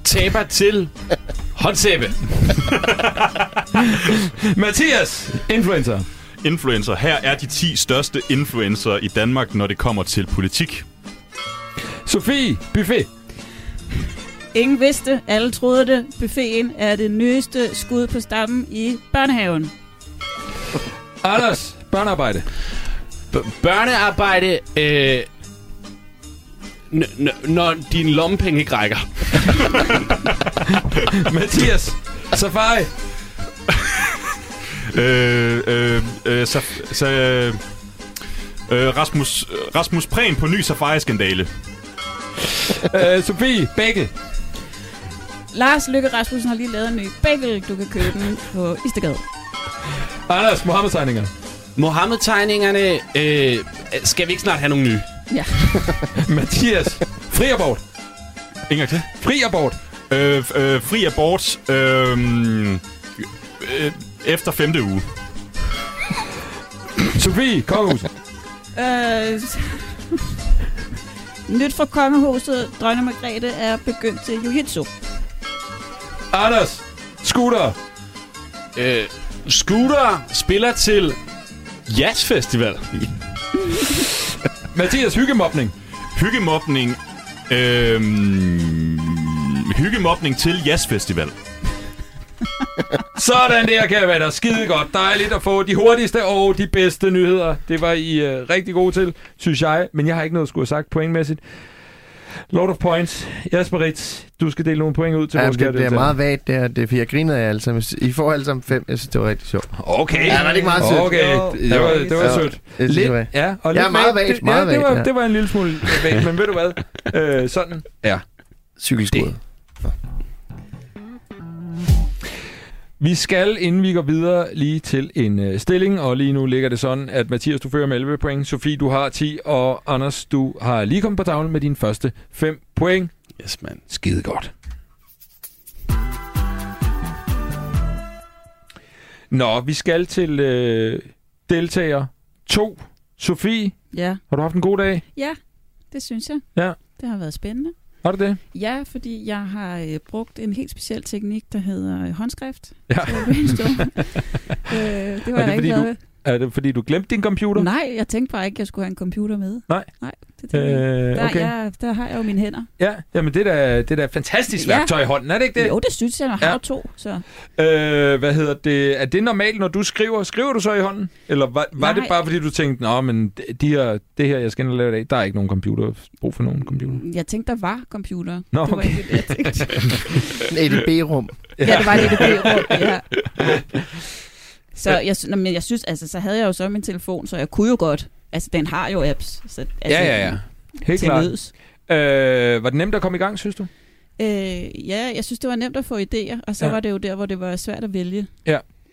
Speaker 4: Taber til håndsæbe.
Speaker 1: Mathias. Influencer.
Speaker 2: Influencer. Her er de 10 største influencer i Danmark, når det kommer til politik.
Speaker 1: Sofie. Buffet.
Speaker 3: Ingen vidste, alle troede det. Buffeten er det nyeste skud på stammen i børnehaven.
Speaker 1: Anders. Børnearbejde.
Speaker 4: B- børnearbejde. Øh, n- n- når din lommepenge ikke rækker.
Speaker 1: Mathias. Safari.
Speaker 2: Øh, øh, øh, så, så, øh, øh, Rasmus, øh, Rasmus Prehn på ny safari-skandale.
Speaker 1: Uh, Sofie. Bækkel.
Speaker 3: Lars Lykke Rasmussen har lige lavet en ny bagel, du kan købe den på Istegade.
Speaker 1: Anders. Mohammed-tegninger.
Speaker 4: Mohammed-tegningerne. Øh, skal vi ikke snart have nogle nye?
Speaker 3: Ja.
Speaker 1: Mathias, fri abort.
Speaker 2: En gang til.
Speaker 1: Fri abort.
Speaker 2: Øh, f- øh, fri abort øh, øh, efter femte uge.
Speaker 1: Sofie, kongehuset.
Speaker 3: Øh, nyt fra kongehuset. Dronning Margrethe er begyndt til jiu-jitsu.
Speaker 1: Anders, scooter.
Speaker 4: Øh, scooter spiller til jazzfestival.
Speaker 1: Mathias, hyggemobning.
Speaker 2: Hyggemobning. Øh, hyggemobning til jazzfestival.
Speaker 1: Sådan der, kære venner. Skide godt. Dejligt at få de hurtigste og de bedste nyheder. Det var I øh, rigtig gode til, synes jeg. Men jeg har ikke noget at skulle have sagt pointmæssigt. Lord of Points. Jesper Ritz, du skal dele nogle point ud til
Speaker 5: Ja,
Speaker 1: vores
Speaker 5: det,
Speaker 1: kære
Speaker 5: det er
Speaker 1: deltagere.
Speaker 5: meget vagt, det her. Det, er, for jeg grinede af jer alle sammen. I får alle sammen fem. Jeg synes, det var rigtig sjovt.
Speaker 1: Okay.
Speaker 5: Ja, var det ikke meget sødt?
Speaker 1: Okay,
Speaker 3: Jo.
Speaker 1: det var, det var
Speaker 5: Ja.
Speaker 1: sødt.
Speaker 5: Jeg synes, det var-
Speaker 1: ja, og
Speaker 5: Ja,
Speaker 1: lidt
Speaker 5: meget
Speaker 1: vagt.
Speaker 5: vagt,
Speaker 1: Det-
Speaker 5: meget
Speaker 1: ja, det,
Speaker 5: vagt,
Speaker 1: var,
Speaker 5: ja.
Speaker 1: det var en lille smule vægt, men ved du hvad? Øh, sådan. Ja.
Speaker 5: Cykelskoet.
Speaker 1: Vi skal, inden vi går videre, lige til en øh, stilling, og lige nu ligger det sådan, at Mathias, du fører med 11 point, Sofie, du har 10, og Anders, du har lige kommet på tavlen med dine første 5 point.
Speaker 4: Yes, man.
Speaker 1: Skide godt. Nå, vi skal til øh, deltager 2. Sofie,
Speaker 3: Ja.
Speaker 1: har du haft en god dag?
Speaker 3: Ja, det synes jeg.
Speaker 1: Ja.
Speaker 3: Det har været spændende.
Speaker 1: Har du det?
Speaker 3: Ja, fordi jeg har øh, brugt en helt speciel teknik, der hedder øh, håndskrift.
Speaker 1: Ja.
Speaker 3: til at brainstorme. øh, det var
Speaker 1: Er det, fordi
Speaker 3: jeg ikke
Speaker 1: du
Speaker 3: glad ved.
Speaker 1: Er det, fordi du glemte din computer?
Speaker 3: Nej, jeg tænkte bare ikke, at jeg skulle have en computer med.
Speaker 1: Nej.
Speaker 3: Nej, det tænkte jeg ikke.
Speaker 1: Øh,
Speaker 3: Der,
Speaker 1: okay.
Speaker 3: okay. jeg, der har jeg jo mine hænder.
Speaker 1: Ja, jamen det er da, det er da et fantastisk
Speaker 3: Ja.
Speaker 1: værktøj i hånden, er det ikke
Speaker 3: Det,
Speaker 1: det?
Speaker 3: jo, det synes jeg, når jeg
Speaker 1: Ja.
Speaker 3: har to. Så.
Speaker 1: Øh, hvad hedder det? Er det normalt, når du skriver? Skriver du så i hånden? Eller var, var det
Speaker 3: Nej.
Speaker 1: bare, fordi du tænkte, Nå, men de de her, det her, jeg skal ind og lave i dag, der er ikke nogen computer. Brug for nogen computer.
Speaker 3: Jeg tænkte, der var computer.
Speaker 1: Nå,
Speaker 3: Det var
Speaker 1: okay.
Speaker 3: ikke det, jeg tænkte.
Speaker 5: Et B-rum.
Speaker 3: Ja, det var lidt det rundt, ja. Så jeg, sy- nå, men jeg synes, altså, så havde jeg jo så min telefon, så jeg kunne jo godt. Altså, den har jo apps. Så, altså,
Speaker 1: Helt
Speaker 3: Til
Speaker 1: klart.
Speaker 3: nøds.
Speaker 1: Øh, var det nemt at komme i gang, synes du?
Speaker 3: Øh, ja, jeg synes, det var nemt at få idéer, og så
Speaker 1: Ja.
Speaker 3: ja. var det jo der, hvor det var svært at vælge.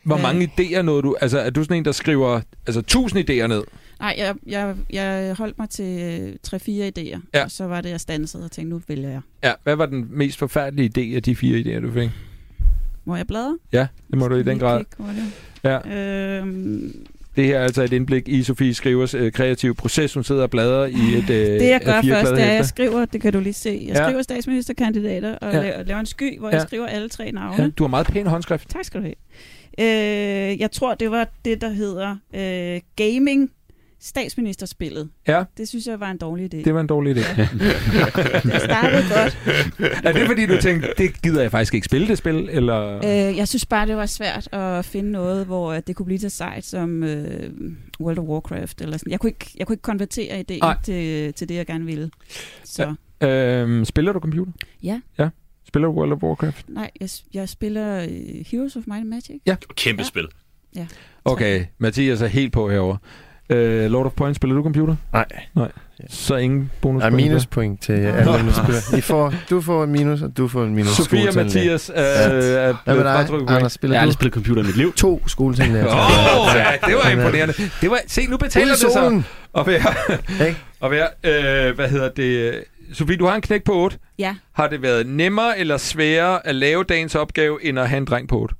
Speaker 1: Hvor
Speaker 3: Ja.
Speaker 1: mange idéer nåede du? Altså, er du sådan en, der skriver altså, tusind idéer ned?
Speaker 3: Nej, jeg, jeg, jeg holdt mig til øh, 3-4 idéer,
Speaker 1: Ja.
Speaker 3: og så var det, jeg stansede og tænkte, nu vælger jeg.
Speaker 1: Ja, hvad var den mest forfærdelige idé af de fire idéer, du fik?
Speaker 3: Må jeg bladre?
Speaker 1: Ja, det må du i den grad. Ja.
Speaker 3: Ja. Øhm,
Speaker 1: Det her er altså et indblik i Sofie Skrivers øh, kreative proces. Hun sidder og bladrer i et øh,
Speaker 3: det, jeg gør
Speaker 1: A4 -blad
Speaker 3: først, det er, at
Speaker 1: hæfte.
Speaker 3: jeg skriver, det kan du lige se, jeg
Speaker 1: Ja.
Speaker 3: ja. skriver statsministerkandidater og
Speaker 1: Ja.
Speaker 3: ja. laver, laver en sky, hvor
Speaker 1: Ja.
Speaker 3: ja. jeg skriver alle tre navne.
Speaker 1: Ja, du har meget pæn håndskrift.
Speaker 3: Tak skal du have. Øh, jeg tror, det var det, der hedder øh, gaming statsministerspillet.
Speaker 1: Ja.
Speaker 3: Det synes jeg var en dårlig idé.
Speaker 1: Det var en dårlig idé.
Speaker 3: Det startede godt.
Speaker 1: er det fordi, du tænkte, det gider jeg faktisk ikke spille det spil? Eller?
Speaker 3: Øh, jeg synes bare, det var svært at finde noget, hvor at det kunne blive så sejt som øh, World of Warcraft. Eller sådan. Jeg, kunne ikke, jeg kunne ikke konvertere
Speaker 1: Nej.
Speaker 3: idéen til, til det, jeg gerne ville. Så ja.
Speaker 1: Øhm, spiller du computer?
Speaker 3: Øh. Ja.
Speaker 1: ja. Spiller du World of Warcraft?
Speaker 3: nej, jeg, jeg spiller øh, Heroes of Might and Magic.
Speaker 2: Kæmpe
Speaker 3: Ja.
Speaker 2: spil.
Speaker 1: Okay, Mathias er helt på herover. Øh, Lord of Points, spiller du computer?
Speaker 5: Nej.
Speaker 1: Nej. Så ingen bonus.
Speaker 5: Der er minuspoint til
Speaker 3: Nå.
Speaker 5: alle minuspoint. I får, du får en minus, og du får en minus.
Speaker 1: Sofie og
Speaker 5: skoletillæg.
Speaker 1: Mathias øh, er blevet
Speaker 5: Hvad med
Speaker 1: fratrukket
Speaker 5: dig,
Speaker 1: point.
Speaker 5: Anders?
Speaker 4: Jeg
Speaker 5: Spiller
Speaker 4: har
Speaker 5: du
Speaker 4: aldrig spillet computer i mit liv.
Speaker 5: to skoletillæg?
Speaker 1: Åh, oh, ja, det var imponerende. Det var, se, nu
Speaker 5: Til
Speaker 1: betaler det sig.
Speaker 5: øh, solen!
Speaker 1: Og være,
Speaker 5: Ikke?
Speaker 1: og være øh, hvad hedder det? Sofie, du har en knæk på 8.
Speaker 3: Ja.
Speaker 1: Har det været nemmere eller sværere at lave dagens opgave, end at have en dreng på 8?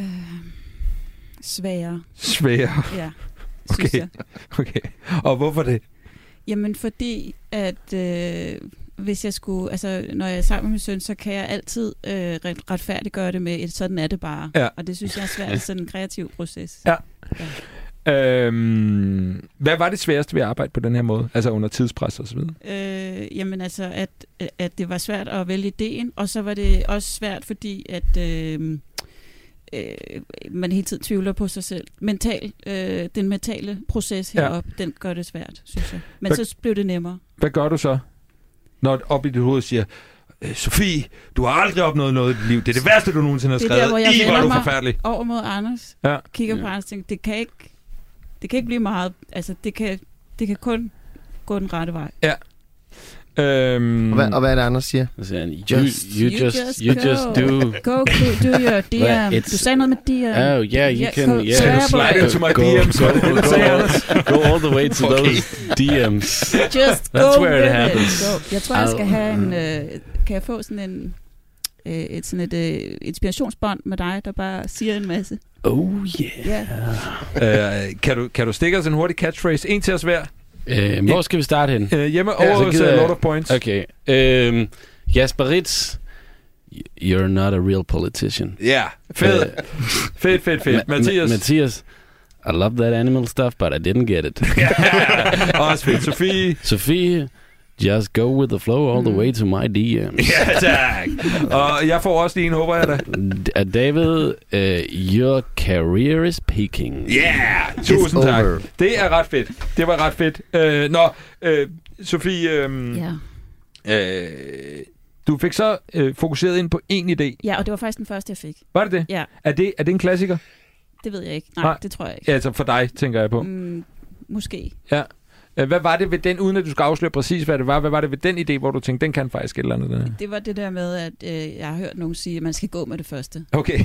Speaker 3: Øh, sværere,
Speaker 1: Sværere.
Speaker 3: ja, synes
Speaker 1: Okay.
Speaker 3: jeg.
Speaker 1: Okay. Og hvorfor det?
Speaker 3: Jamen fordi, at øh, hvis jeg skulle, altså når jeg er sammen med min søn, så kan jeg altid øh, ret- retfærdiggøre det med et sådan er det bare.
Speaker 1: Ja.
Speaker 3: Og det synes jeg er svært i sådan en kreativ proces.
Speaker 1: Ja. Øhm, hvad var det sværeste ved at arbejde på den her måde? Altså under tidspres og så videre?
Speaker 3: Øh, jamen altså, at, at det var svært at vælge ideen, og så var det også svært, fordi at øh, øh, man hele tiden tvivler på sig selv. Mental, øh, den mentale proces
Speaker 1: Ja.
Speaker 3: heroppe, den gør det svært, synes jeg. Men
Speaker 1: Hvad-
Speaker 3: så blev det nemmere.
Speaker 1: Hvad gør du så, når op i dit hoved siger, "Øh, Sofie, du har aldrig opnået noget i dit liv. Det er det værste, du nogensinde har
Speaker 3: Det er
Speaker 1: skrevet.
Speaker 3: der, hvor jeg
Speaker 1: I, hvor er
Speaker 3: vender
Speaker 1: du
Speaker 3: mig."
Speaker 1: forfærdelig.
Speaker 3: over mod Anders,
Speaker 1: Ja.
Speaker 3: ja. kigger på
Speaker 4: Ja.
Speaker 3: Anders og tænker, det kan ikke, det kan ikke blive meget, altså det kan, det kan kun gå den rette vej.
Speaker 1: Øhm,
Speaker 5: Og hvad, og hvad er det, Anders siger?
Speaker 4: Så siger han, you,
Speaker 5: Just-
Speaker 4: you,
Speaker 3: You
Speaker 4: just,
Speaker 3: just
Speaker 4: you
Speaker 3: go.
Speaker 4: just do.
Speaker 3: Go, go do your dear.
Speaker 4: It's-
Speaker 3: Du sagde noget med dear.
Speaker 4: Oh, yeah, you
Speaker 3: Yeah,
Speaker 4: can...
Speaker 3: so- so
Speaker 4: Yeah,
Speaker 3: I Slide have-
Speaker 1: into my
Speaker 4: go,
Speaker 1: DMs.
Speaker 4: Go, go, go, go all the way to
Speaker 1: Okay.
Speaker 4: those DMs.
Speaker 3: Just go
Speaker 4: That's where it
Speaker 3: with
Speaker 4: happens.
Speaker 3: Go. Jeg tror, jeg skal
Speaker 4: Au. Mm.
Speaker 3: have en... Øh, kan jeg få sådan en... Øh, et, sådan et øh, inspirationsbånd med dig, der bare siger en masse.
Speaker 4: Oh, yeah.
Speaker 3: Ja.
Speaker 1: øh, kan, du, kan du stikke os en hurtig catchphrase? En til os hver.
Speaker 4: Øh, hvor skal vi starte hen?
Speaker 1: Øh, hjemme
Speaker 4: Ja,
Speaker 1: over
Speaker 4: så
Speaker 1: hos
Speaker 4: gider
Speaker 1: øh,
Speaker 4: jeg-
Speaker 1: Lord of Points.
Speaker 4: Okay. Øhm, Jasper Ritz, you're not a real politician. Øh,
Speaker 1: Ja, fed. Fedt, fedt, fedt.
Speaker 4: Ma-
Speaker 1: Mathias.
Speaker 4: Ma- Mathias, I love that animal stuff, but I didn't get it.
Speaker 1: Også fedt. Sofie.
Speaker 4: Sophie, just go with the flow all the way to my DMs.
Speaker 1: Ja, tak. Og jeg får også lige en, håber jeg da.
Speaker 4: D- uh, David, uh, your career is peaking.
Speaker 1: Yeah! Tusind
Speaker 5: It's
Speaker 1: tak.
Speaker 5: over.
Speaker 1: Det er ret fedt. Det var ret fedt. Øh, nå, øh, Sofie,
Speaker 4: Mm.
Speaker 1: øh,
Speaker 3: Ja.
Speaker 1: øh, du fik så øh, fokuseret ind på én idé.
Speaker 3: ja, og det var faktisk den første, jeg fik.
Speaker 1: Var det det?
Speaker 3: Ja,
Speaker 1: Er det, er det en klassiker?
Speaker 3: det ved jeg ikke. Nej,
Speaker 1: Nej.
Speaker 3: det tror jeg ikke.
Speaker 1: Ja, altså for dig, tænker jeg på.
Speaker 3: Mm, måske.
Speaker 1: Øh, Hvad var det ved den, uden at du skal afsløre præcis, hvad det var, hvad var det ved den idé, hvor du tænkte, den kan faktisk et eller andet? Den her?
Speaker 3: Det var det der med, at øh, jeg har hørt nogen sige, at man skal gå med det første.
Speaker 1: Okay.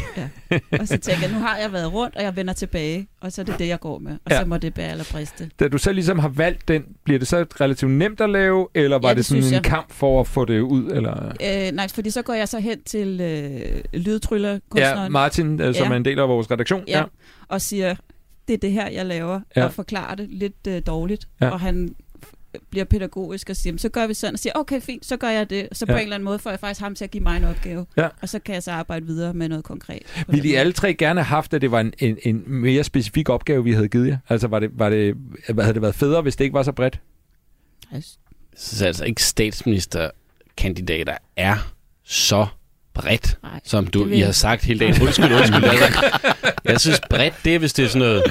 Speaker 3: Og så tænker jeg, nu har jeg været rundt, og jeg vender tilbage, og så er det det, jeg går med. Og
Speaker 1: Ja.
Speaker 3: ja. så må det bære eller briste.
Speaker 1: Da du så ligesom har valgt den, bliver det så relativt nemt at lave, eller var
Speaker 3: Ja,
Speaker 1: det,
Speaker 3: det
Speaker 1: sådan en
Speaker 3: synes jeg.
Speaker 1: kamp for at få det ud? Eller?
Speaker 3: Øh, nej, fordi så går jeg så hen til øh,
Speaker 1: Ja,
Speaker 3: lydtryllerkunstneren ja,
Speaker 1: Martin, øh, som
Speaker 3: Ja.
Speaker 1: er en del af vores redaktion.
Speaker 3: ja, og siger, det er det her, jeg laver,
Speaker 1: Ja.
Speaker 3: ja. og forklarer det lidt øh, dårligt.
Speaker 1: Ja.
Speaker 3: Ja. Og han f- bliver pædagogisk og siger, "Men så gør vi sådan, og siger, okay, fint, så gør jeg det. Så på
Speaker 1: Ja.
Speaker 3: en eller anden måde får jeg faktisk ham til at give mig en opgave,
Speaker 1: Ja.
Speaker 3: og så kan jeg så arbejde videre med noget konkret.
Speaker 1: Ville I alle tre gerne have haft, at det var en, en, en mere specifik opgave, vi havde givet jer? Altså, var det, var det, øh, havde det været federe, hvis det ikke var så bredt?
Speaker 3: Altså,
Speaker 4: Så altså ikke statsministerkandidater er så bredt,
Speaker 3: nej.
Speaker 4: som du
Speaker 3: Det vil
Speaker 4: I
Speaker 3: jeg
Speaker 4: har
Speaker 3: ikke.
Speaker 4: sagt hele dagen. Undskyld, undskyld. Altså, jeg synes bredt, det er, hvis det er sådan noget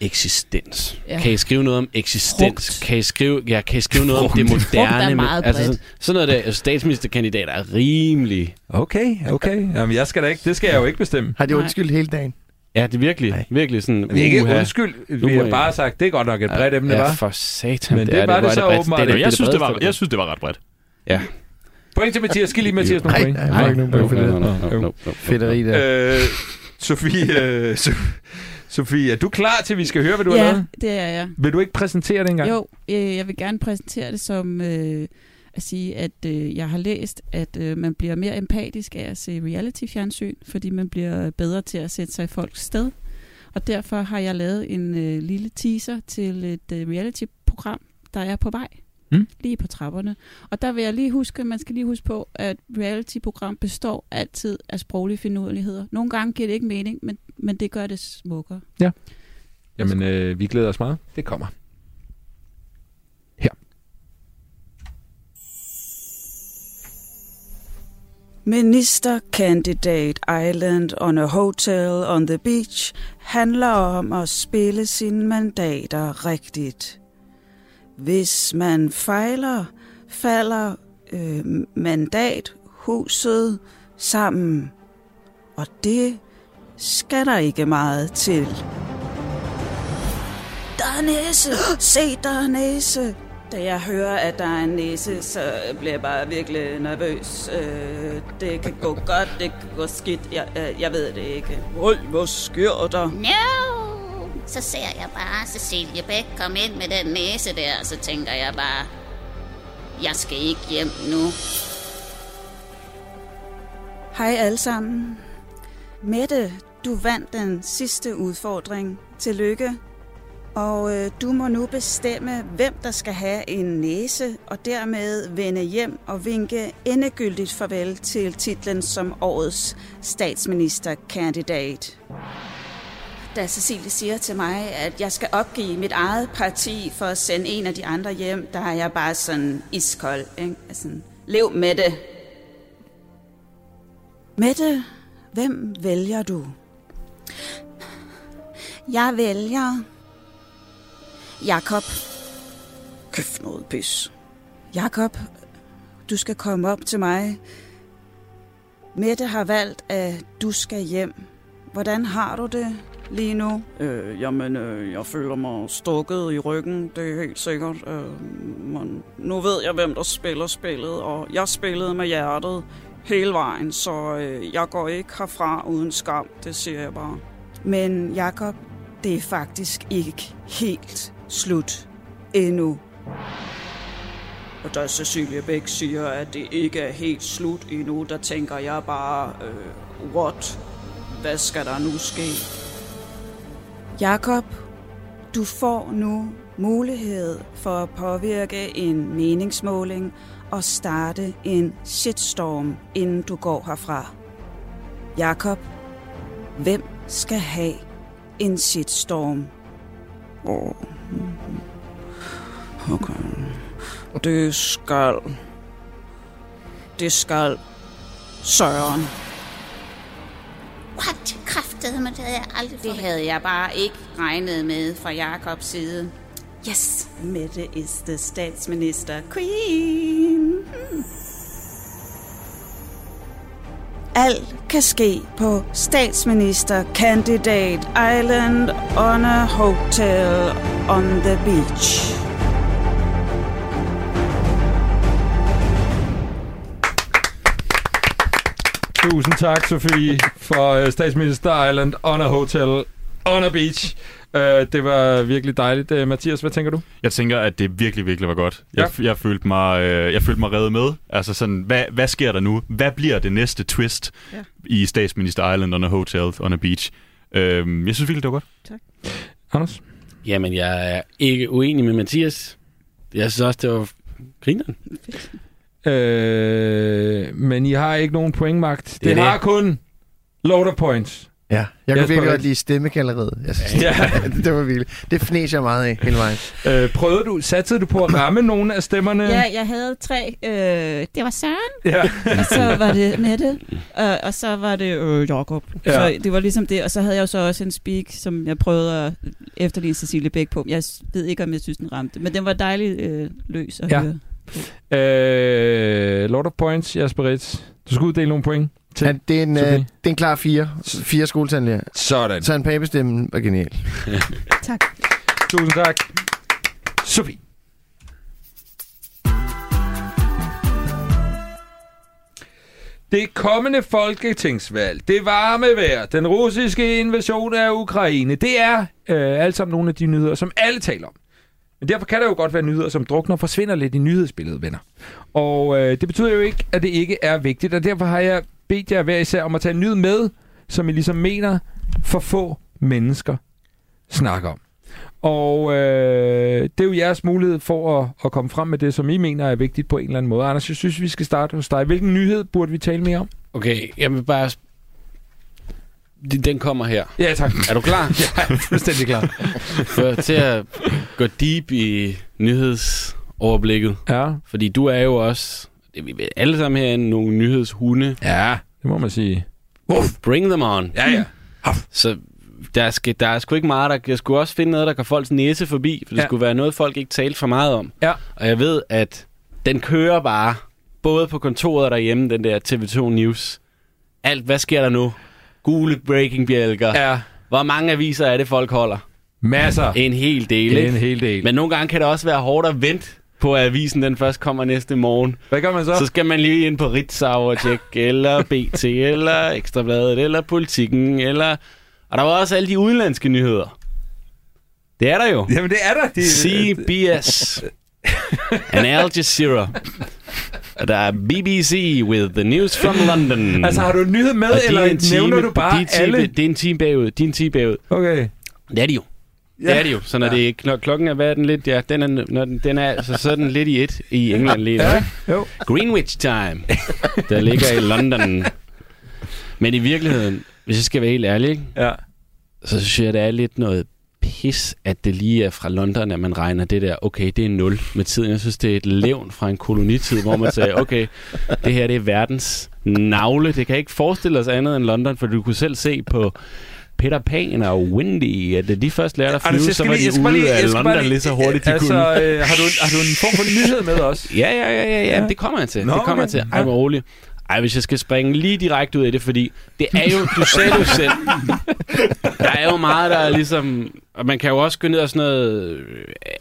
Speaker 4: eksistens. Ja.
Speaker 3: Ja.
Speaker 4: Kan I skrive noget om eksistens?
Speaker 3: Frugt.
Speaker 4: Kan I skrive, ja, kan I skrive noget om det moderne?
Speaker 3: Frugt er meget
Speaker 4: altså,
Speaker 3: bredt.
Speaker 4: sådan, sådan noget der. altså, Statsministerkandidater er rimelig.
Speaker 1: Okay, okay. Jamen, jeg skal da ikke, det skal jeg jo ikke bestemme.
Speaker 5: Har de
Speaker 3: Nej.
Speaker 5: undskyldt hele dagen?
Speaker 4: Ja, det er virkelig,
Speaker 5: Nej.
Speaker 4: virkelig sådan...
Speaker 1: Vi er ikke
Speaker 4: uha.
Speaker 1: undskyld,
Speaker 4: Nu
Speaker 1: vi
Speaker 4: må
Speaker 1: har
Speaker 4: I-
Speaker 1: bare sagt, det er godt nok et bredt emne,
Speaker 4: ja,
Speaker 1: var.
Speaker 4: for satan.
Speaker 1: Men det
Speaker 4: er
Speaker 1: var det
Speaker 4: Hvor er
Speaker 1: så
Speaker 4: bredt.
Speaker 1: åbenbart
Speaker 4: Det er
Speaker 1: ikke.
Speaker 4: da-
Speaker 2: Jeg synes, det
Speaker 4: bredeste,
Speaker 2: var,
Speaker 4: hvor-
Speaker 2: jeg synes, det var ret bredt.
Speaker 1: Point til Mathias. Skal lige Mathias nogle
Speaker 5: Nej,
Speaker 1: point?
Speaker 5: nej, jeg får ikke nogen point for det.
Speaker 4: No, no, no, no, no, no.
Speaker 5: Fedteri der.
Speaker 1: Øh, Sofie, øh, So- Sofie, er du klar til, at vi skal høre, hvad du har
Speaker 3: Ja,
Speaker 1: lavet?
Speaker 3: det er jeg.
Speaker 1: Vil du ikke præsentere det engang?
Speaker 3: Jo, øh, jeg vil gerne præsentere det som øh, at sige, at øh, jeg har læst, at øh, man bliver mere empatisk af at se reality-fjernsyn, fordi man bliver bedre til at sætte sig i folks sted. Og derfor har jeg lavet en øh, lille teaser til et øh, reality-program, der er på vej.
Speaker 1: Mm.
Speaker 3: Lige på trapperne. Og der vil jeg lige huske, man skal lige huske på, at reality-program består altid af sproglige finurligheder. Nogle gange giver det ikke mening, men, men det gør det smukkere.
Speaker 1: Jamen, øh, vi glæder os meget. Det kommer.
Speaker 8: Ministerkandidat Island on a Hotel on the Beach handler om at spille sine mandater rigtigt. Hvis man fejler, falder øh, mandathuset sammen. Og det skal der ikke meget til. Der er næse! Se, der er næse! Da jeg hører, at der er en næse, så bliver jeg bare virkelig nervøs. Øh, det kan gå godt, det kan gå skidt. Jeg, øh, jeg ved det ikke. Oj, hvor sker der?
Speaker 9: No! Så ser jeg bare Cecilie Bæk komme ind med den næse der, så tænker jeg bare, jeg skal ikke hjem nu.
Speaker 8: Hej alle sammen. Mette, du vandt den sidste udfordring. Tillykke. Og øh, du må nu bestemme, hvem der skal have en næse, og dermed vende hjem og vinke endegyldigt farvel til titlen som årets statsministerkandidat. Da Cecilie siger til mig, at jeg skal opgive mit eget parti for at sende en af de andre hjem, der er jeg bare sådan iskold. Ikke? Altså, lev med det. Mette, hvem vælger du? Jeg vælger... Jakob. Kæft noget pis. Jakob, du skal komme op til mig. Mette har valgt, at du skal hjem. Hvordan har du det?
Speaker 3: lige nu? Øh, jamen, øh, jeg føler mig stukket i ryggen, det er helt sikkert. Øh, man, nu ved jeg, hvem der spiller spillet, og jeg spillede med hjertet hele vejen, så øh, jeg går ikke herfra uden skam, det siger jeg bare. Men Jakob, det er faktisk ikke helt slut endnu. Og da Cecilia Bæk siger, at det ikke er helt slut endnu, der tænker jeg bare, øh, what? Hvad skal der nu ske? Jakob, du får nu mulighed for at påvirke en meningsmåling og starte en shitstorm, inden du går herfra. Jakob, hvem skal have en shitstorm? Åh, Okay. Det skal... Det skal... Søren.
Speaker 9: What? Kræftede med det havde jeg aldrig Det havde jeg bare ikke regnet med fra Jakobs side. Yes,
Speaker 3: Mette is the statsminister queen. Alt kan ske på statsminister Candidate Island on a hotel on the beach.
Speaker 1: Tusind tak, Sofie, for øh, Statsminister Island on a hotel on a beach. Øh, det var virkelig dejligt. Øh, Mathias, hvad tænker du?
Speaker 2: Jeg tænker, at det virkelig, virkelig var godt.
Speaker 1: Ja.
Speaker 2: Jeg, jeg, følte mig, øh, jeg følte mig reddet med. Altså sådan, hvad, hvad sker der nu? Hvad bliver det næste twist
Speaker 10: Ja.
Speaker 2: ja. i Statsminister Island on a hotel on a beach? Øhm, jeg synes virkelig, det var godt.
Speaker 1: Anders?
Speaker 4: Jamen, jeg er ikke uenig med Mathias. Jeg synes også, det var grineren.
Speaker 1: Øh, men I har ikke nogen pointmagt. Det,
Speaker 4: er
Speaker 1: det,
Speaker 4: det.
Speaker 1: har kun loader points.
Speaker 5: Ja, jeg
Speaker 1: Jesper,
Speaker 5: kunne virkelig
Speaker 1: hvad-
Speaker 5: godt lide stemmegalleriet. Jeg synes,
Speaker 1: Ja.
Speaker 5: det, det var vildt. Det fnes jeg meget af hele vejen.
Speaker 1: Øh, prøvede du, satsede du på at ramme nogle af stemmerne?
Speaker 10: Ja, jeg havde tre. Øh, det var Søren,
Speaker 1: ja.
Speaker 10: og så var det Mette, og, og så var det øh, Jakob.
Speaker 1: Ja.
Speaker 10: Ja. Så det var ligesom det, og så havde jeg jo så også en speak, som jeg prøvede at efterligne Cecilie Bæk på. Jeg s- ved ikke, om jeg synes, den ramte, men den var dejlig øh, løs at
Speaker 1: Ja.
Speaker 10: ja. høre.
Speaker 1: Øh, loader points, Jasper Ritz. Du skal uddele nogle point. Til.
Speaker 5: Han, det, er en, øh,
Speaker 1: Sofie.
Speaker 5: det er en klar fire. Fire skoletandlæger.
Speaker 1: Sådan.
Speaker 5: Så en pabestemme var genial.
Speaker 10: Tak.
Speaker 1: Tusind tak. Sofie. Det kommende folketingsvalg, det varme vejr, den russiske invasion af Ukraine, det er øh, alt sammen nogle af de nyheder, som alle taler om. Men derfor kan der jo godt være nyheder, som drukner og forsvinder lidt i nyhedsbilledet, venner. Og øh, det betyder jo ikke, at det ikke er vigtigt, og derfor har jeg bedt jer hver især om at tage en nyhed med, som I ligesom mener, for få mennesker snakker om. Og øh, det er jo jeres mulighed for at, at komme frem med det, som I mener er vigtigt på en eller anden måde. Anders, jeg synes, vi skal starte hos dig. Hvilken nyhed burde vi tale mere om?
Speaker 4: Okay, jeg vil bare... sp- Den- Den kommer her.
Speaker 1: Ja, tak.
Speaker 4: Er du klar?
Speaker 1: Jeg er fuldstændig klar.
Speaker 4: For til at gå deep i nyhedsoverblikket.
Speaker 1: Ja.
Speaker 4: Fordi du er jo også, det er vi ved alle sammen herinde, nogle nyhedshunde.
Speaker 1: ja, det må man sige.
Speaker 4: Bring them on.
Speaker 1: Ja, ja.
Speaker 4: Så der, skal, der er sgu ikke meget, der, jeg skulle også finde noget, der går folks næse forbi, for det
Speaker 1: Ja.
Speaker 4: ja. skulle være noget, folk ikke talte for meget om.
Speaker 1: Ja.
Speaker 4: Og jeg ved, at den kører bare, både på kontoret og derhjemme, den der TV2 News. Alt, hvad sker der nu? Gule breakingbjælker. Ja.
Speaker 1: Ja,
Speaker 4: Hvor mange aviser er det, folk holder?
Speaker 1: masser.
Speaker 4: En hel del,
Speaker 1: Det er en
Speaker 4: ikke?
Speaker 1: hel del.
Speaker 4: Men nogle gange kan det også være hårdt at vente på, at avisen den først kommer næste morgen.
Speaker 1: Hvad gør man så?
Speaker 4: Så skal man lige ind på Ritzau og tjekke, eller BT, eller Ekstrabladet, eller Politiken, eller... Og der var også alle de udenlandske nyheder. Det er der jo.
Speaker 1: Jamen, det er der. Det,
Speaker 4: CBS and Al Jazeera. Og der er BBC with the news from London.
Speaker 1: Altså, har du en nyhed med,
Speaker 4: Og de er
Speaker 1: eller
Speaker 4: en time-
Speaker 1: nævner du
Speaker 4: de er
Speaker 1: bare
Speaker 4: en time,
Speaker 1: alle?
Speaker 4: Det er en time bagud. De er en time bagud.
Speaker 1: Okay.
Speaker 4: Det er de jo. Ja. Det er de jo. Så når, ja. det, er- når klokken er, hvad er den lidt? Ja, den er, når den, den er altså sådan lidt i et i England lige nu.
Speaker 1: Ja,
Speaker 4: ikke?
Speaker 1: jo.
Speaker 4: Greenwich Time, der ligger i London. Men i virkeligheden, hvis jeg skal være helt ærlig, ikke?
Speaker 1: Ja.
Speaker 4: så synes jeg, det er lidt noget pis, at det lige er fra London, at man regner det der, okay, det er 0 med tiden. Jeg synes, det er et levn fra en kolonitid, hvor man sagde, okay, det her det er verdens navle. Det kan ikke forestille os andet end London, for du kunne selv se på Peter Pan og Wendy, at da de først lærte at flyve, så var de ude af London lige så hurtigt, de
Speaker 1: altså,
Speaker 4: kunne.
Speaker 1: Øh, har, du, har du en form for nyhed med os?
Speaker 4: Ja, ja, ja, ja, ja. Det kommer jeg til.
Speaker 1: Nå,
Speaker 4: Nå, det kommer
Speaker 1: okay.
Speaker 4: jeg til.
Speaker 1: Ja.
Speaker 4: Ej, hvor rolig. Ej, hvis jeg skal springe lige direkte ud af det, fordi det er jo, du sagde det jo selv. Der er jo meget, der er ligesom... Og man kan jo også gå ned og sådan noget... øh,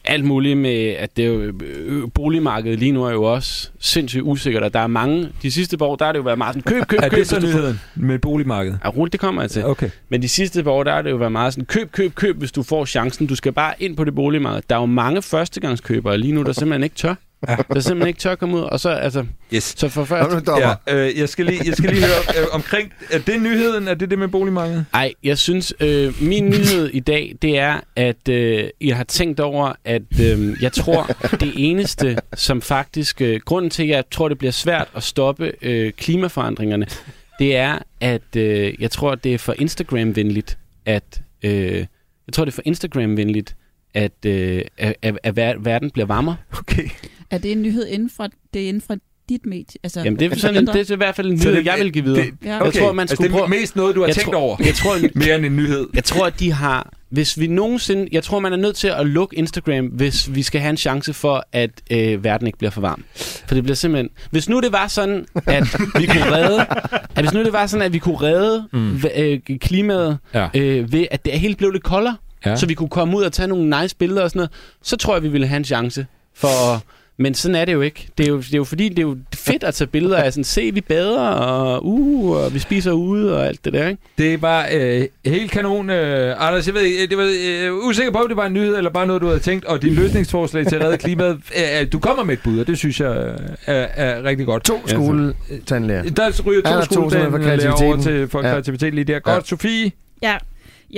Speaker 4: Alt muligt med, at det er jo, øh, boligmarkedet lige nu er jo også sindssygt usikkert, og der er mange... De sidste par år, der har det jo været meget sådan, køb, køb,
Speaker 1: Er
Speaker 4: køb.
Speaker 1: det så
Speaker 4: hvis du får-
Speaker 1: nyheden med boligmarkedet?
Speaker 4: Ja, roligt, det kommer jeg til.
Speaker 1: Okay.
Speaker 4: Men de sidste par år, der har det jo været meget sådan, køb, køb, køb, hvis du får chancen. Du skal bare ind på det boligmarked. Der er jo mange førstegangskøbere lige nu, der simpelthen ikke tør. Der simpelthen ikke tør komme ud. Og så, altså,
Speaker 1: Yes.
Speaker 4: så for
Speaker 5: Nå, nu
Speaker 4: først...
Speaker 5: dommer.
Speaker 1: Ja, øh, jeg, skal lige, jeg skal lige høre øh, omkring... Er det nyheden? Er det det med boligmarkedet?
Speaker 4: Ej, jeg synes, øh, min nyhed i dag, det er, at øh, jeg har tænkt over, at øh, jeg tror, det eneste, som faktisk... Øh, grunden til, at jeg tror, det bliver svært at stoppe øh, klimaforandringerne, det er, at øh, jeg tror, det er for Instagram-venligt, at... Øh, jeg tror, det er for Instagram-venligt, at, øh, at, at, at ver- verden bliver varmere.
Speaker 1: Okay.
Speaker 3: Er det en nyhed inden fra, det er inden fra dit medie? Altså,
Speaker 4: Jamen, det er, sådan,
Speaker 3: Ændre-
Speaker 4: det er i hvert fald en
Speaker 1: Så
Speaker 4: nyhed,
Speaker 1: det-
Speaker 4: jeg vil give videre.
Speaker 1: det-
Speaker 3: ja.
Speaker 4: Jeg
Speaker 1: okay.
Speaker 4: tror, man
Speaker 1: altså,
Speaker 4: skulle
Speaker 1: det er
Speaker 4: prøve-
Speaker 1: mest noget, du har
Speaker 4: jeg
Speaker 1: tænkt
Speaker 4: tror-
Speaker 1: over.
Speaker 4: Jeg tror,
Speaker 1: Mere end en nyhed.
Speaker 4: Jeg tror, at de har... Hvis vi nogensinde... Jeg tror, man er nødt til at lukke Instagram, hvis vi skal have en chance for, at øh, verden ikke bliver for varm. For det bliver simpelthen... Hvis nu det var sådan, at vi kunne redde... At hvis nu det var sådan, at vi kunne redde mm. øh, klimaet
Speaker 1: Ja.
Speaker 4: øh, ved, at det hele blev lidt koldere,
Speaker 1: Ja.
Speaker 4: ja. så vi kunne komme ud og tage nogle nice billeder og sådan noget, så tror jeg, vi ville have en chance for at men sådan er det jo ikke. Det er jo, det er jo fordi, det er jo fedt at tage billeder af sådan, se, vi bader, og uh, og vi spiser ude, og alt det der, ikke?
Speaker 1: Det var øh, helt kanon. Øh, Anders, jeg ved ikke, øh, det var øh, usikker på, om det var en nyhed, eller bare noget, du havde tænkt, og din løsningsforslag til at redde klimaet. Øh, øh, du kommer med et bud, og det synes jeg øh, er, er rigtig godt. Altså,
Speaker 5: To skoletandlæger.
Speaker 1: Der ryger
Speaker 5: Ja, der
Speaker 1: to
Speaker 5: er to sådan for
Speaker 1: skoledagen over
Speaker 5: kreativiteten.
Speaker 1: til for
Speaker 5: Ja.
Speaker 1: kreativitet lige der. Godt,
Speaker 5: Ja.
Speaker 1: Sofie.
Speaker 3: Ja,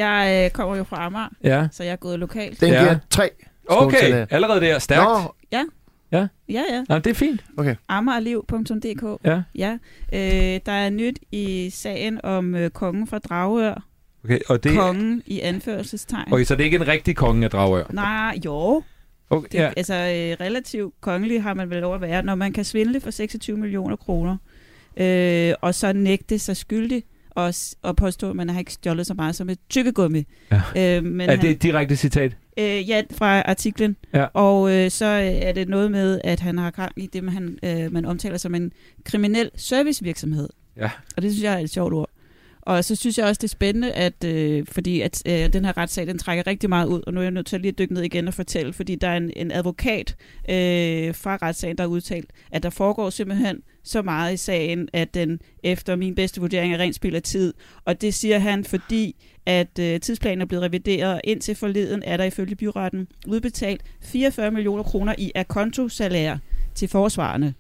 Speaker 3: jeg øh, kommer jo fra Amager,
Speaker 1: Ja.
Speaker 3: så jeg er gået lokalt.
Speaker 5: Den
Speaker 1: Ja.
Speaker 5: giver tre.
Speaker 1: Okay,
Speaker 5: Skoledagen.
Speaker 1: allerede der. Stærkt.
Speaker 5: Nå,
Speaker 3: Ja, ja.
Speaker 1: Nå, det er fint.
Speaker 3: Amagerliv.dk.
Speaker 1: Ja.
Speaker 3: ja. Øh, der er nyt i sagen om øh, kongen fra Dragør.
Speaker 1: Okay, og det,
Speaker 3: Det... Kongen i anførselstegn.
Speaker 1: Mm. okay, så det er ikke en rigtig konge af Dragør.
Speaker 3: Nej, jo.
Speaker 1: Okay,
Speaker 3: Det, ja. Altså, øh, relativt kongelig har man vel lov at være, når man kan svindle for 26 millioner kroner, øh, og så nægte sig skyldig, og, s- og påstå, at man har ikke stjålet så meget som et tykkegummi.
Speaker 1: Ja.
Speaker 3: Øh, men
Speaker 1: er
Speaker 3: han-
Speaker 1: det et direkte citat?
Speaker 3: Øh, ja, fra artiklen.
Speaker 1: Ja.
Speaker 3: Og øh, så øh, er det noget med, at han har gang i det, man, han, øh, man omtaler som en kriminel servicevirksomhed.
Speaker 1: Ja.
Speaker 3: Og det synes jeg er et sjovt ord. Og så synes jeg også, det er spændende, at, øh, fordi at, øh, den her retssag, den trækker rigtig meget ud, og nu er jeg nødt til at lige at dykke ned igen og fortælle, fordi der er en, en advokat øh, fra retssagen, der har udtalt, at der foregår simpelthen så meget i sagen, at den efter min bedste vurdering er ren spild af tid. Og det siger han, fordi at øh, tidsplanen er blevet revideret, og indtil forleden er der ifølge byretten udbetalt 44 millioner kroner i akontosalærer til forsvarerne.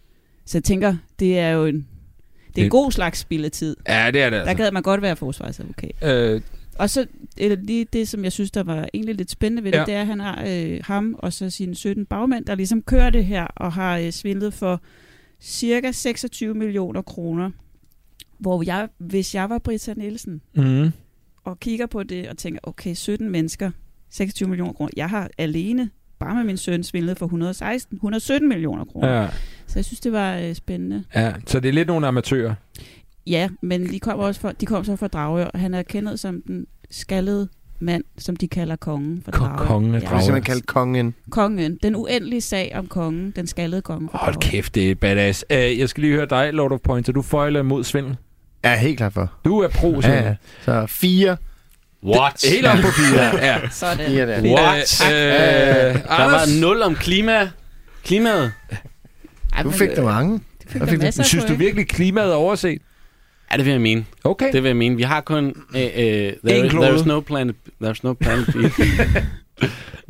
Speaker 3: Så jeg tænker, det er jo en, det er en
Speaker 1: Det-
Speaker 3: god slags spilletid.
Speaker 1: Ja, det altså. er det
Speaker 3: Der gad man godt være forsvarsadvokat.
Speaker 1: Øh,
Speaker 3: Og så øh, lige det, som jeg synes, der var egentlig lidt spændende ved det,
Speaker 1: Ja.
Speaker 3: ja. det er, at han har øh, ham og så sine 17 bagmænd, der ligesom kører det her og har øh, svindlet for cirka 26 millioner kroner. Hvor jeg, hvis jeg var Britta Nielsen,
Speaker 1: mm.
Speaker 3: og kigger på det og tænker, okay, 17 mennesker, 26 millioner kroner. Jeg har alene, bare med min søn, svindlet for 116, 117 millioner kroner. Ja.
Speaker 1: ja.
Speaker 3: Så jeg synes, det var øh, spændende.
Speaker 1: ja. Så det er lidt nogle amatører.
Speaker 3: Ja, men de kom, også for, de kom så fra Dragør, og han er kendt som den skaldede mand, som de kalder kongen fra
Speaker 1: Ko-
Speaker 3: Dragør.
Speaker 1: kongen af
Speaker 5: det er
Speaker 1: Dragør.
Speaker 5: simpelthen kaldt kongen.
Speaker 3: Kongen. Den uendelige sag om kongen, den skaldede konge fra
Speaker 1: Hold
Speaker 3: Dragør.
Speaker 1: kæft, det er badass. Øh, jeg skal lige høre dig, Lord of Pointer. Du føjler mod svindel.
Speaker 5: Ja, helt klart for.
Speaker 1: Du er pro
Speaker 5: Ja,
Speaker 1: svindel.
Speaker 5: ja. Så fire.
Speaker 4: What?
Speaker 1: Helt op på fire. ja.
Speaker 3: Sådan.
Speaker 5: Fire der.
Speaker 4: What?
Speaker 1: Øh, øh,
Speaker 4: Der
Speaker 1: Anders?
Speaker 4: var nul om klima. klimaet.
Speaker 3: Ej,
Speaker 5: Du
Speaker 3: men,
Speaker 5: fik
Speaker 3: øh,
Speaker 5: der mange.
Speaker 3: det fik
Speaker 5: der
Speaker 3: der
Speaker 5: fik du-
Speaker 3: masser af
Speaker 1: Synes du
Speaker 3: point.
Speaker 1: virkelig, klimaet er overset?
Speaker 4: Ja, det vil jeg mene.
Speaker 1: Okay.
Speaker 4: Det vil jeg mene. Vi har kun... Øh, øh, there,
Speaker 1: En klode.
Speaker 4: there's no planet, there's no planet B.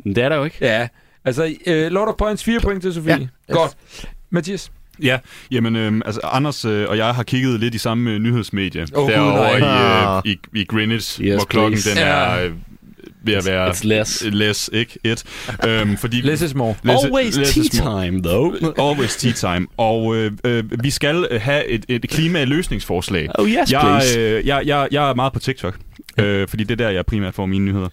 Speaker 4: Men det er der jo ikke.
Speaker 1: Ja. Altså, øh, Lord of Points, fire point til Sofie. Ja.
Speaker 5: Ja.
Speaker 1: Godt. Mathias.
Speaker 2: Ja, jamen øh, altså Anders øh, og jeg har kigget lidt i samme øh, nyhedsmedie
Speaker 1: Åh, gud,
Speaker 2: derovre
Speaker 5: nej.
Speaker 2: i, øh, i, i Greenwich,
Speaker 4: Ah. Yes,
Speaker 2: hvor klokken
Speaker 4: please.
Speaker 2: den
Speaker 1: Ja.
Speaker 2: er øh, ved at være
Speaker 4: It's less.
Speaker 2: less ikke? Et. Øhm, fordi,
Speaker 1: Less is more.
Speaker 2: less-
Speaker 4: Always
Speaker 2: less
Speaker 4: tea
Speaker 2: is more.
Speaker 4: time, though.
Speaker 2: Always tea time. Og øh, øh, vi skal øh, have et, et klimaløsningsforslag.
Speaker 4: Oh yes,
Speaker 2: Jeg,
Speaker 4: please.
Speaker 2: øh, jeg, jeg, jeg er meget på TikTok, øh, fordi det er der, jeg primært får mine nyheder.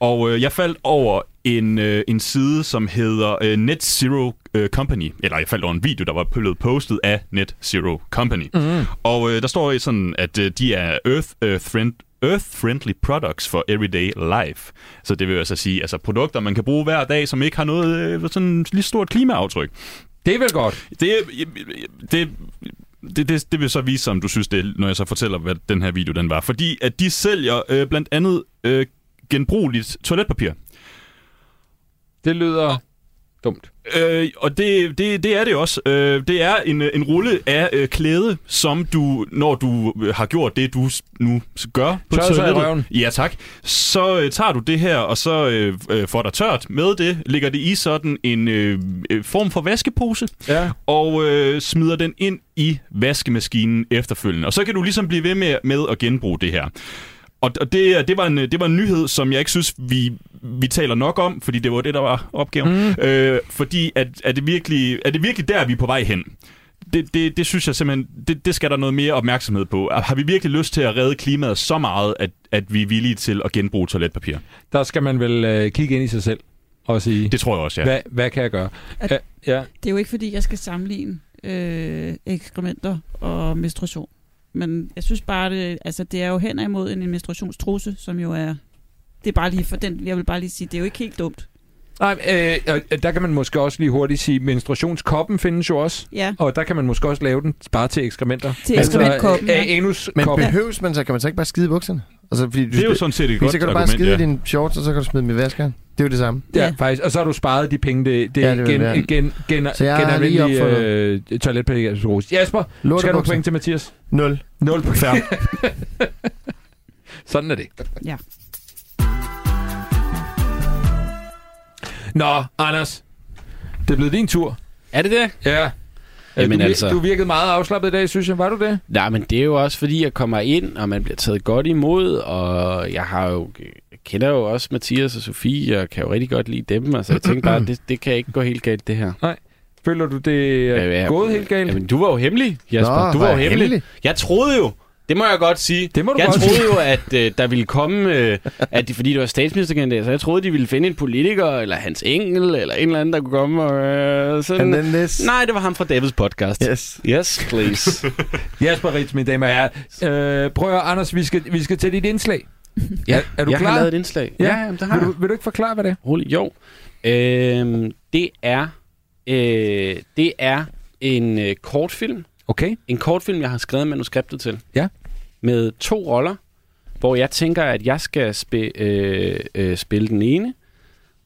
Speaker 2: Og øh, jeg faldt over en, øh, en side, som hedder øh, Net Zero øh, Company. Eller jeg faldt over en video, der var blevet postet af Net Zero Company.
Speaker 4: Mhm.
Speaker 2: Mm. Og øh, der står sådan, at øh, de er Earth, øh, friend, Earth-friendly products for everyday life. Så det vil altså sige, altså produkter, man kan bruge hver dag, som ikke har noget øh, sådan lige stort klimaaftryk.
Speaker 1: Det er vel godt.
Speaker 2: Det, det, det, det, det vil så vise sig, om du synes det, når jeg så fortæller, hvad den her video den var. Fordi at de sælger øh, blandt andet øh, genbrugeligt toiletpapir.
Speaker 1: Det lyder dumt.
Speaker 2: Øh, og det, det, det er det også. Øh, det er en, øh, en rulle af øh, klæde, som du, når du øh, har gjort det, du s- nu s- gør på
Speaker 1: Tørret sig i
Speaker 2: toilettet-
Speaker 1: røven.
Speaker 2: Ja, tak. Så øh, tager du det her, og så øh, øh, får dig tørt med det, lægger det i sådan en øh, øh, form for vaskepose,
Speaker 1: Ja.
Speaker 2: og øh, smider den ind i vaskemaskinen efterfølgende. Og så kan du ligesom blive ved med, med at genbruge det her. Og, og det, er- det, var en, øh, det var en nyhed, som jeg ikke synes, vi, vi taler nok om, fordi det var det, der var opgaven. Mm. Øh, fordi at, er, det virkelig, er det virkelig der, vi er på vej hen? Det, det, det synes jeg simpelthen, det, det skal der noget mere opmærksomhed på. Har vi virkelig lyst til at redde klimaet så meget, at, at vi er villige til at genbruge toiletpapir?
Speaker 1: Der skal man vel øh, kigge ind i sig selv og sige, det,
Speaker 2: Det tror jeg også,
Speaker 1: ja.
Speaker 2: ja.
Speaker 1: hvad, hvad kan jeg gøre?
Speaker 3: At-
Speaker 1: Ja, ja.
Speaker 3: Det er jo ikke, fordi jeg skal sammenligne øh, ekskrementer og menstruation. Men jeg synes bare, det, altså, det er jo hen imod en menstruationstrusse, som jo er... Det er bare lige for den, jeg vil bare lige sige, det er jo ikke helt dumt.
Speaker 1: Nej, øh, og der kan man måske også lige hurtigt sige, menstruationskoppen findes jo også.
Speaker 3: Ja,
Speaker 1: Og der kan man måske også lave den bare til ekskrementer.
Speaker 3: til ekskrementkoppen.
Speaker 1: Altså, øh,
Speaker 3: Ja.
Speaker 5: Men
Speaker 1: anuskoppen.
Speaker 5: behøves man så? Kan man så ikke bare skide i bukserne? Altså, fordi du,
Speaker 2: Det er jo sådan set et
Speaker 5: fordi
Speaker 2: godt
Speaker 5: så kan du bare skide i
Speaker 2: argument, ja.
Speaker 5: dine shorts, og så kan du smide dem i vaskeren. Det er jo det samme.
Speaker 1: Ja,
Speaker 3: Ja.
Speaker 1: faktisk. Og så har du sparet de penge, det, det
Speaker 5: Ja,
Speaker 1: ja,
Speaker 5: det
Speaker 1: det
Speaker 5: vil
Speaker 1: gen,
Speaker 5: være.
Speaker 1: gen, gen, gen,
Speaker 5: Så jeg har lige
Speaker 1: genanvendelige
Speaker 5: opfundet-
Speaker 1: øh, toiletpapir. Jasper,
Speaker 5: Lort
Speaker 1: skal du have
Speaker 5: og
Speaker 1: point til Mathias?
Speaker 5: Nul.
Speaker 1: 0 point. Sådan er det.
Speaker 3: Ja.
Speaker 1: Nå, Anders. Det er blevet din tur.
Speaker 4: øh, Er det det?
Speaker 1: Ja. Øh,
Speaker 4: Jamen
Speaker 1: du, vir-
Speaker 4: altså.
Speaker 1: Du virkede meget afslappet i dag, synes jeg. Var du det?
Speaker 4: Nej, men det er jo også, fordi jeg kommer ind, og man bliver taget godt imod, og jeg har jo jeg kender jo også Mathias og Sofie, og kan jo rigtig godt lide dem. Altså, jeg tænkte bare, det, det kan ikke gå helt galt, det her.
Speaker 1: Føler du, det er
Speaker 4: Øh, Ja, ja.
Speaker 1: gået helt galt?
Speaker 4: Jamen, du var jo hemmelig, Jasper.
Speaker 5: Nå,
Speaker 4: du var jo
Speaker 5: jeg
Speaker 4: hemmelig.
Speaker 5: hemmelig?
Speaker 4: Jeg troede jo, det må jeg godt sige.
Speaker 1: Det må du
Speaker 4: jeg
Speaker 1: godt
Speaker 4: troede
Speaker 1: sige.
Speaker 4: jo, at øh, der ville komme, øh, at de, fordi det var statsministerkandidat, så jeg troede, de ville finde en politiker, eller hans engel, eller en eller anden, der kunne komme og øh,
Speaker 5: And
Speaker 4: sådan.
Speaker 5: then this.
Speaker 4: Nej, det var ham fra Davids podcast.
Speaker 5: Yes.
Speaker 4: Yes, please.
Speaker 1: Jasper Ritz, mine damer og herrer. Øh, prøv at høre, Anders, vi skal, vi skal til dit indslag.
Speaker 4: Ja,
Speaker 1: er, er du
Speaker 4: jeg
Speaker 1: klar?
Speaker 4: har lavet et indslag.
Speaker 1: Ja.
Speaker 4: Ja, ja jamen, det har
Speaker 1: vil,
Speaker 4: jeg.
Speaker 1: du, vil du ikke forklare, hvad det er?
Speaker 4: Rolig. Jo. Øhm, det er øh, det er en øh, kortfilm.
Speaker 1: Okay.
Speaker 4: En kortfilm, jeg har skrevet manuskriptet til.
Speaker 1: Ja.
Speaker 4: Med to roller, hvor jeg tænker, at jeg skal spi- øh, øh, spille den ene.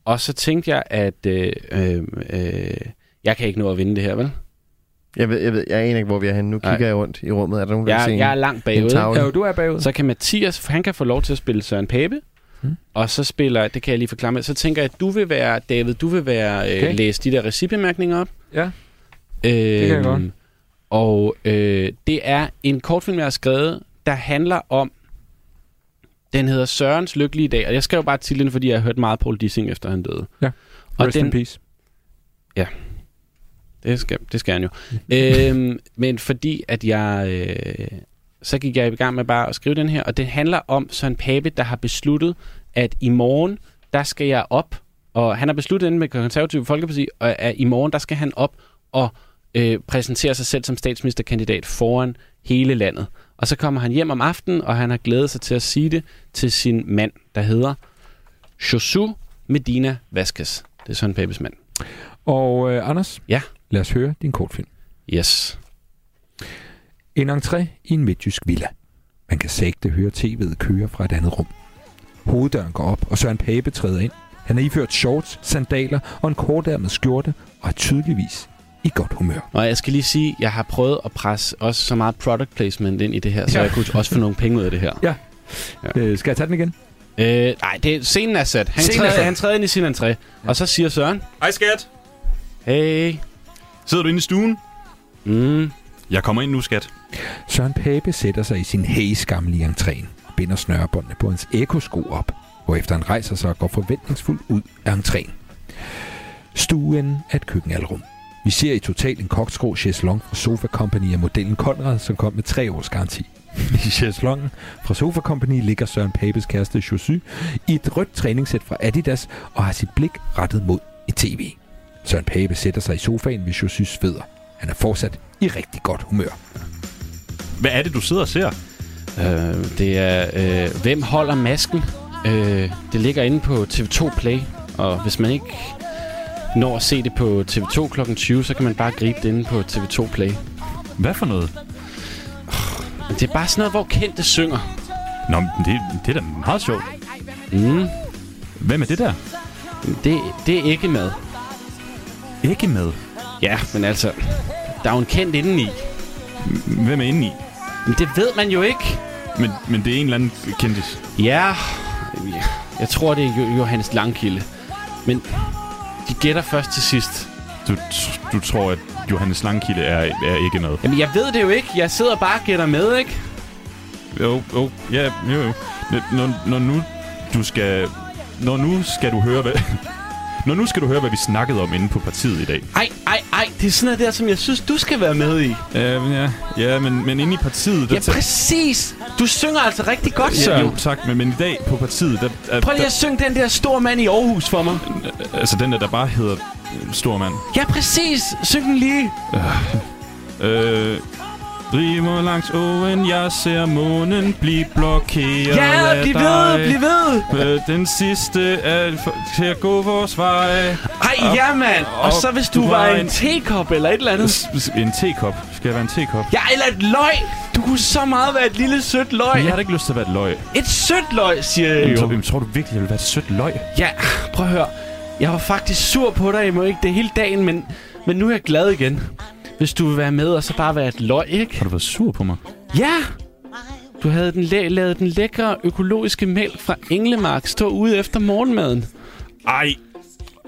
Speaker 4: Og så tænkte jeg, at øh, øh, øh, jeg kan ikke nå at vinde det her, vel?
Speaker 5: Jeg ved, jeg ved, jeg aner ikke, hvor vi er henne. Nu
Speaker 4: Nej.
Speaker 5: kigger jeg rundt i rummet. Er der nogen, der vil se
Speaker 4: Jeg,
Speaker 5: en-
Speaker 4: jeg er langt
Speaker 5: en
Speaker 4: bagud.
Speaker 5: tavle?
Speaker 1: Ja, jo, du er bagud.
Speaker 4: Så kan Mathias, han kan få lov til at spille Søren Pape.
Speaker 1: Mm.
Speaker 4: Mm. Og så spiller, det kan jeg lige forklare med, så tænker jeg, at du vil være, David, du vil være, okay.
Speaker 1: Okay.
Speaker 4: øh, læse de der recipebemærkninger op.
Speaker 1: Ja.
Speaker 4: øh,
Speaker 1: kan jeg godt.
Speaker 4: Og øh, det er en kortfilm, jeg har skrevet, der handler om, den hedder Sørens Lykkelige Dag, og jeg skrev bare titlen, fordi jeg har hørt meget Paul Dissing, efter han døde.
Speaker 1: Ja.
Speaker 4: Og
Speaker 1: Rest
Speaker 4: den,
Speaker 1: in peace.
Speaker 4: det skal, det skal han jo. øhm, men fordi at jeg... Øh, så gik jeg i gang med bare at skrive den her, og det handler om Søren Pape, der har besluttet, at i morgen, der skal jeg op, og han har besluttet inde med konservative Folkeparti, og at i morgen, der skal han op og øh, præsentere sig selv som statsministerkandidat foran hele landet. Og så kommer han hjem om aftenen, og han har glædet sig til at sige det til sin mand, der hedder Josu Medina Vasquez. Det er Søren Papes mand.
Speaker 1: Og øh, Anders?
Speaker 4: Ja.
Speaker 1: Lad os høre din kortfilm.
Speaker 4: Yes.
Speaker 1: En entré i en midtjysk villa. Man kan sægte høre tv'et køre fra et andet rum. Hoveddøren går op, og Søren Pape træder ind. Han har iført shorts, sandaler og en kortærmet skjorte, og er tydeligvis i godt humør.
Speaker 4: Og jeg skal lige sige, jeg har prøvet at presse også så meget product placement ind i det her, så
Speaker 1: Ja.
Speaker 4: ja. jeg kunne også få nogle penge ud af det her.
Speaker 1: Øh, skal jeg tage den igen?
Speaker 4: Øh, nej, det, er- scenen er sat. Han,
Speaker 1: Scenen er
Speaker 4: træder,
Speaker 1: sat.
Speaker 4: han træder ind i sin entré, og så siger Søren,
Speaker 2: Hej skat,
Speaker 4: hey,
Speaker 2: sidder du inde i stuen?
Speaker 4: mm,
Speaker 2: Jeg kommer ind nu, skat.
Speaker 1: Søren Pape sætter sig i sin hæsgammel i entréen og binder snørebåndene på hans ekosko op, hvorefter han rejser sig og går forventningsfuldt ud af entréen. Stuen er et køkkenalrum. Vi ser i total en koksgrå chaiselong fra Sofa Company af modellen Konrad, som kom med tre års garanti. I chaiselongen fra Sofa Company ligger Søren Papes kæreste Josy i et rødt træningssæt fra Adidas og har sit blik rettet mod et tv. Søren Pape sætter sig i sofaen ved Josys fødder. Han er fortsat i rigtig godt humør.
Speaker 2: Hvad er det, du sidder og ser?
Speaker 4: øh, det er, øh, hvem holder masken? Øh, det ligger inde på TV2 Play, og hvis man ikke når at se det på TV2 kl. 20, så kan man bare gribe det inde på TV2 Play.
Speaker 2: Hvad for noget?
Speaker 4: Det er bare sådan noget, hvor kendte synger.
Speaker 2: Nå, men det, det er da meget sjovt.
Speaker 4: Mm,
Speaker 2: Hvem er det der?
Speaker 4: det, det er ikke med.
Speaker 2: Ikke med.
Speaker 4: Ja, men altså, der er jo en kendt indeni.
Speaker 2: Hvem er inde i?
Speaker 4: Men det ved man jo ikke.
Speaker 2: Men, men det er en eller anden kendis.
Speaker 4: Ja, ja, jeg tror, det er Jo- Johannes Langkilde. Men de gætter først til sidst.
Speaker 2: Du, du tror, at Johannes Langkilde er, er ikke med.
Speaker 4: Jamen, jeg ved det jo ikke. Jeg sidder bare og gætter med, ikke?
Speaker 2: Jo, jo, ja, jo, jo. Når, når nu du skal... Når nu skal du høre, hvad... Når nu skal du høre, hvad vi snakkede om inde på partiet i dag.
Speaker 4: Ej, ej, ej. Det er sådan noget der, som jeg synes, du skal være med i.
Speaker 2: Ja, men ja, ja men, men inde i partiet... Der
Speaker 4: Ja, præcis. Du synger altså rigtig godt,
Speaker 2: ja,
Speaker 4: Søren.
Speaker 2: jo, tak, men, men i dag på partiet... Der, er,
Speaker 4: Prøv lige at synge den der store mand i Aarhus for mig.
Speaker 2: der, altså den der, der bare hedder øh, Stormand.
Speaker 4: Ja, præcis. Syng den lige.
Speaker 2: Øh, rimer langs åen, jeg ser månen blive blokeret
Speaker 4: Ja,
Speaker 2: af
Speaker 4: bliv
Speaker 2: dig.
Speaker 4: ved, bliv ved.
Speaker 2: Øh, den sidste er for, til at gå vores vej.
Speaker 4: Ej, ja, mand. Og så hvis du var en tekop eller et eller andet.
Speaker 2: S- s- En tekop. Skal jeg være en tekop?
Speaker 4: Ja, eller et løg. Du kunne så meget være et lille sødt løg.
Speaker 2: Men jeg har da ikke lyst til at være et løg.
Speaker 4: Et sødt løg, siger
Speaker 2: Jamen,
Speaker 4: jeg
Speaker 2: tror,
Speaker 4: jo.
Speaker 2: jamen, tror du virkelig, jeg vil være et sødt løg?
Speaker 4: Ja, prøv at høre. Jeg var faktisk sur på dig, må ikke det hele dagen, men, men nu er jeg glad igen. Hvis du vil være med, og så bare være et løg, ikke?
Speaker 2: Har du været sur på mig?
Speaker 4: Ja! Du havde den læ- lavet den lækre økologiske mælk fra Englemark stå ude efter morgenmaden.
Speaker 2: Ej.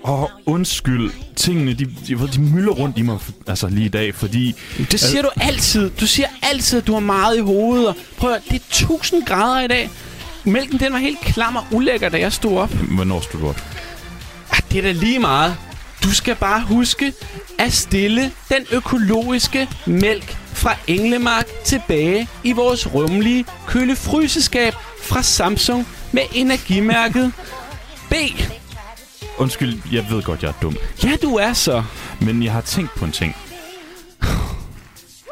Speaker 2: Åh, oh, undskyld. Tingene, de, de, ved, de mylder rundt i mig altså lige i dag, fordi...
Speaker 4: Det siger du altid. Du siger altid, at du har meget i hovedet. Og prøv at høre, det er 1000 grader i dag. Mælken den var helt klam og ulækker, da jeg stod op.
Speaker 2: Hvornår stod du op?
Speaker 4: Ah, det er da lige meget. Du skal bare huske at stille den økologiske mælk fra Englemark tilbage i vores rummelige kølefryseskab fra Samsung med energimærket B.
Speaker 2: Undskyld, jeg ved godt, jeg er dum.
Speaker 4: Ja, du er så.
Speaker 2: Men jeg har tænkt på en ting.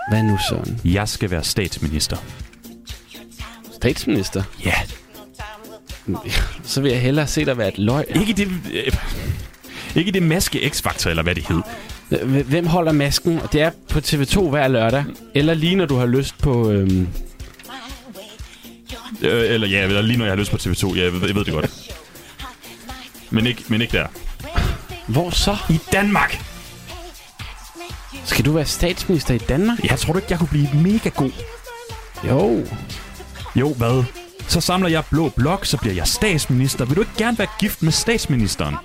Speaker 4: Hvad nu, sådan?
Speaker 2: Jeg skal være statsminister.
Speaker 4: Statsminister?
Speaker 2: Ja.
Speaker 4: Så vil jeg hellere se dig være et løg.
Speaker 2: Ikke det... Øh, ikke det maske X-faktor, eller hvad det hed.
Speaker 4: H- Hvem holder masken? Og det er på TV2 hver lørdag. Eller lige når du har lyst på... Øhm...
Speaker 2: Øh, eller ja, eller lige når jeg har lyst på TV2. Ja, jeg ved, jeg ved det godt. Men ikke, men ikke der.
Speaker 4: Hvor så?
Speaker 2: I Danmark!
Speaker 4: Skal du være statsminister i Danmark?
Speaker 2: Jeg tror du ikke, jeg kunne blive mega god?
Speaker 4: Jo.
Speaker 2: Jo, hvad? Så samler jeg blå blok, så bliver jeg statsminister. Vil du ikke gerne være gift med statsministeren?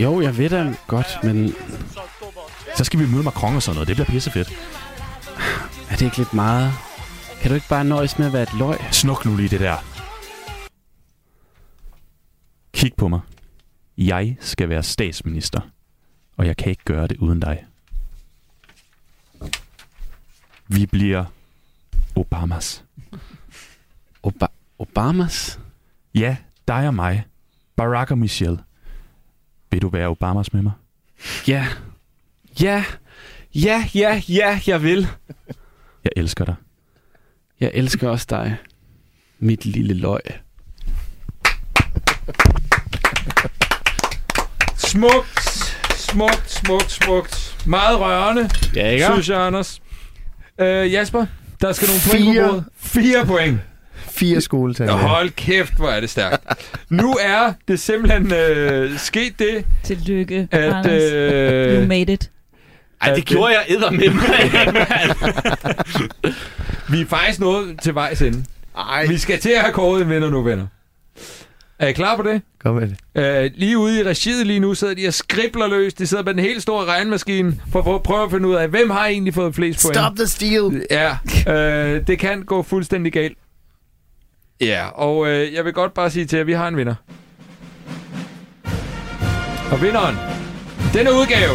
Speaker 4: Jo, jeg ved da godt, men
Speaker 2: Så skal vi møde Macron og sådan noget. Det bliver pissefedt.
Speaker 4: Er det ikke lidt meget? Kan du ikke bare nøjes med at være et løg?
Speaker 2: Snuk nu lige det der. Kig på mig. Jeg skal være statsminister. Og jeg kan ikke gøre det uden dig. Vi bliver Obamas.
Speaker 4: Oba- Obamas?
Speaker 2: Ja, dig og mig. Barack og Michelle. Vil du være Obamas med mig?
Speaker 4: Ja. Ja. Ja, ja, ja, jeg vil.
Speaker 2: Jeg elsker dig.
Speaker 4: Jeg elsker også dig. Mit lille løg.
Speaker 1: Smukt, smukt, smukt, smukt. Meget rørende,
Speaker 4: Ja,
Speaker 1: synes jeg, Anders. Øh, Jasper, der skal nogle point
Speaker 5: Fire.
Speaker 1: på bordet. Fire point.
Speaker 5: Fire skoletal.
Speaker 1: Nå, hold kæft, hvor er det stærkt. Nu er det simpelthen øh, sket det,
Speaker 3: Tillykke,
Speaker 1: at...
Speaker 3: Anders.
Speaker 1: Øh,
Speaker 3: You made it.
Speaker 4: Ej, det gjorde jeg æder med
Speaker 1: Vi er faktisk nået til vejs ende.
Speaker 5: Ej,
Speaker 1: Vi skal til at have kåret en vinder nu, venner. Er I klar på det?
Speaker 5: kom med det.
Speaker 1: Øh, lige ude i regiet lige nu sidder de og skribler løs. De sidder med den helt store regnmaskine for at prø- prøve at finde ud af, hvem har egentlig fået flest point.
Speaker 5: Stop the steal!
Speaker 1: Ja, øh, det kan gå fuldstændig galt. Ja, og øh, jeg vil godt bare sige til jer, at vi har en vinder. Og vinderen, i denne udgave,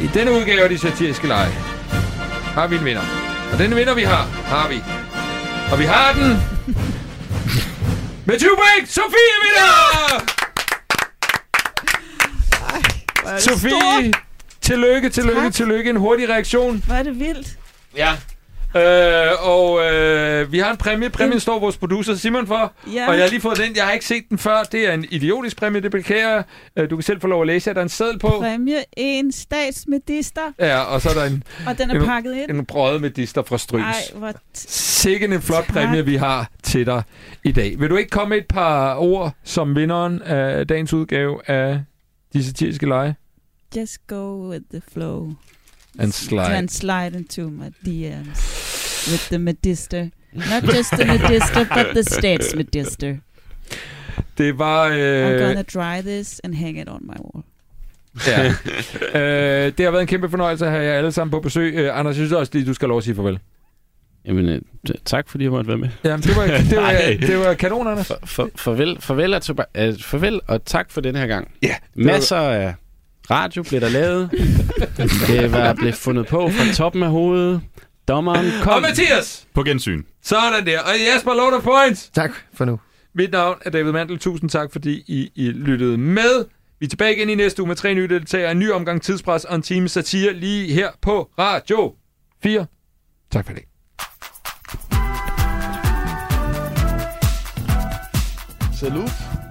Speaker 1: i denne udgave af de satiriske lege, har vi en vinder. Og den vinder, vi har, har vi. Og vi har den med 20 point, Sofie vinder! Ja! Sofie, tillykke, tillykke,
Speaker 3: Tak.
Speaker 1: tillykke. En hurtig reaktion.
Speaker 3: Hvor er det vildt.
Speaker 1: Ja. Øh, og øh, vi har en præmie. Præmien står vores producer Simon for.
Speaker 3: Ja.
Speaker 1: Og jeg har lige fået den. Jeg har ikke set den før. Det er en idiotisk præmie, det beklager jeg. øh, Du kan selv få lov at læse. jer. Der er en seddel på.
Speaker 3: Præmie en statsmedister,
Speaker 1: Ja, og så er der en,
Speaker 3: og den er
Speaker 1: Jamen,
Speaker 3: pakket ind.
Speaker 1: en brød med dister fra Stryns.
Speaker 3: Ej, hvor t-
Speaker 1: Sikken en flot
Speaker 3: Tak.
Speaker 1: præmie, vi har til dig i dag. Vil du ikke komme med et par ord som vinderen af dagens udgave af De Satiriske Lege?
Speaker 3: just go with the flow.
Speaker 1: And slide.
Speaker 3: And slide into my DMs with the medister. Not just the medister, but the states medister.
Speaker 1: Det var...
Speaker 3: I'm
Speaker 1: Øh,
Speaker 3: gonna dry this and hang it on my wall.
Speaker 1: ja. øh, det har været en kæmpe fornøjelse at have jer alle sammen på besøg. Øh, Anders, jeg synes også lige, du skal have lov at sige farvel.
Speaker 4: Jamen, øh, t- tak fordi jeg måtte være med.
Speaker 1: Jamen, det var, det
Speaker 2: Ej.
Speaker 1: var, det var kanon, Anders.
Speaker 4: For, for, farvel, farvel, og toba- øh, farvel og tak for den her gang.
Speaker 1: Ja,
Speaker 4: Masser af radio blev der lavet. det var blev fundet på fra toppen af hovedet. Dommeren
Speaker 1: Og
Speaker 4: kom.
Speaker 1: Mathias!
Speaker 2: På gensyn.
Speaker 1: Sådan der. Og Jesper, load of points!
Speaker 5: Tak for nu.
Speaker 1: Mit navn er David Mandel. Tusind tak, fordi I, I lyttede med. Vi er tilbage igen i næste uge med tre nye deltagere. En ny omgang tidspres og en time satire lige her på Radio 4. Tak for det.
Speaker 6: Salute.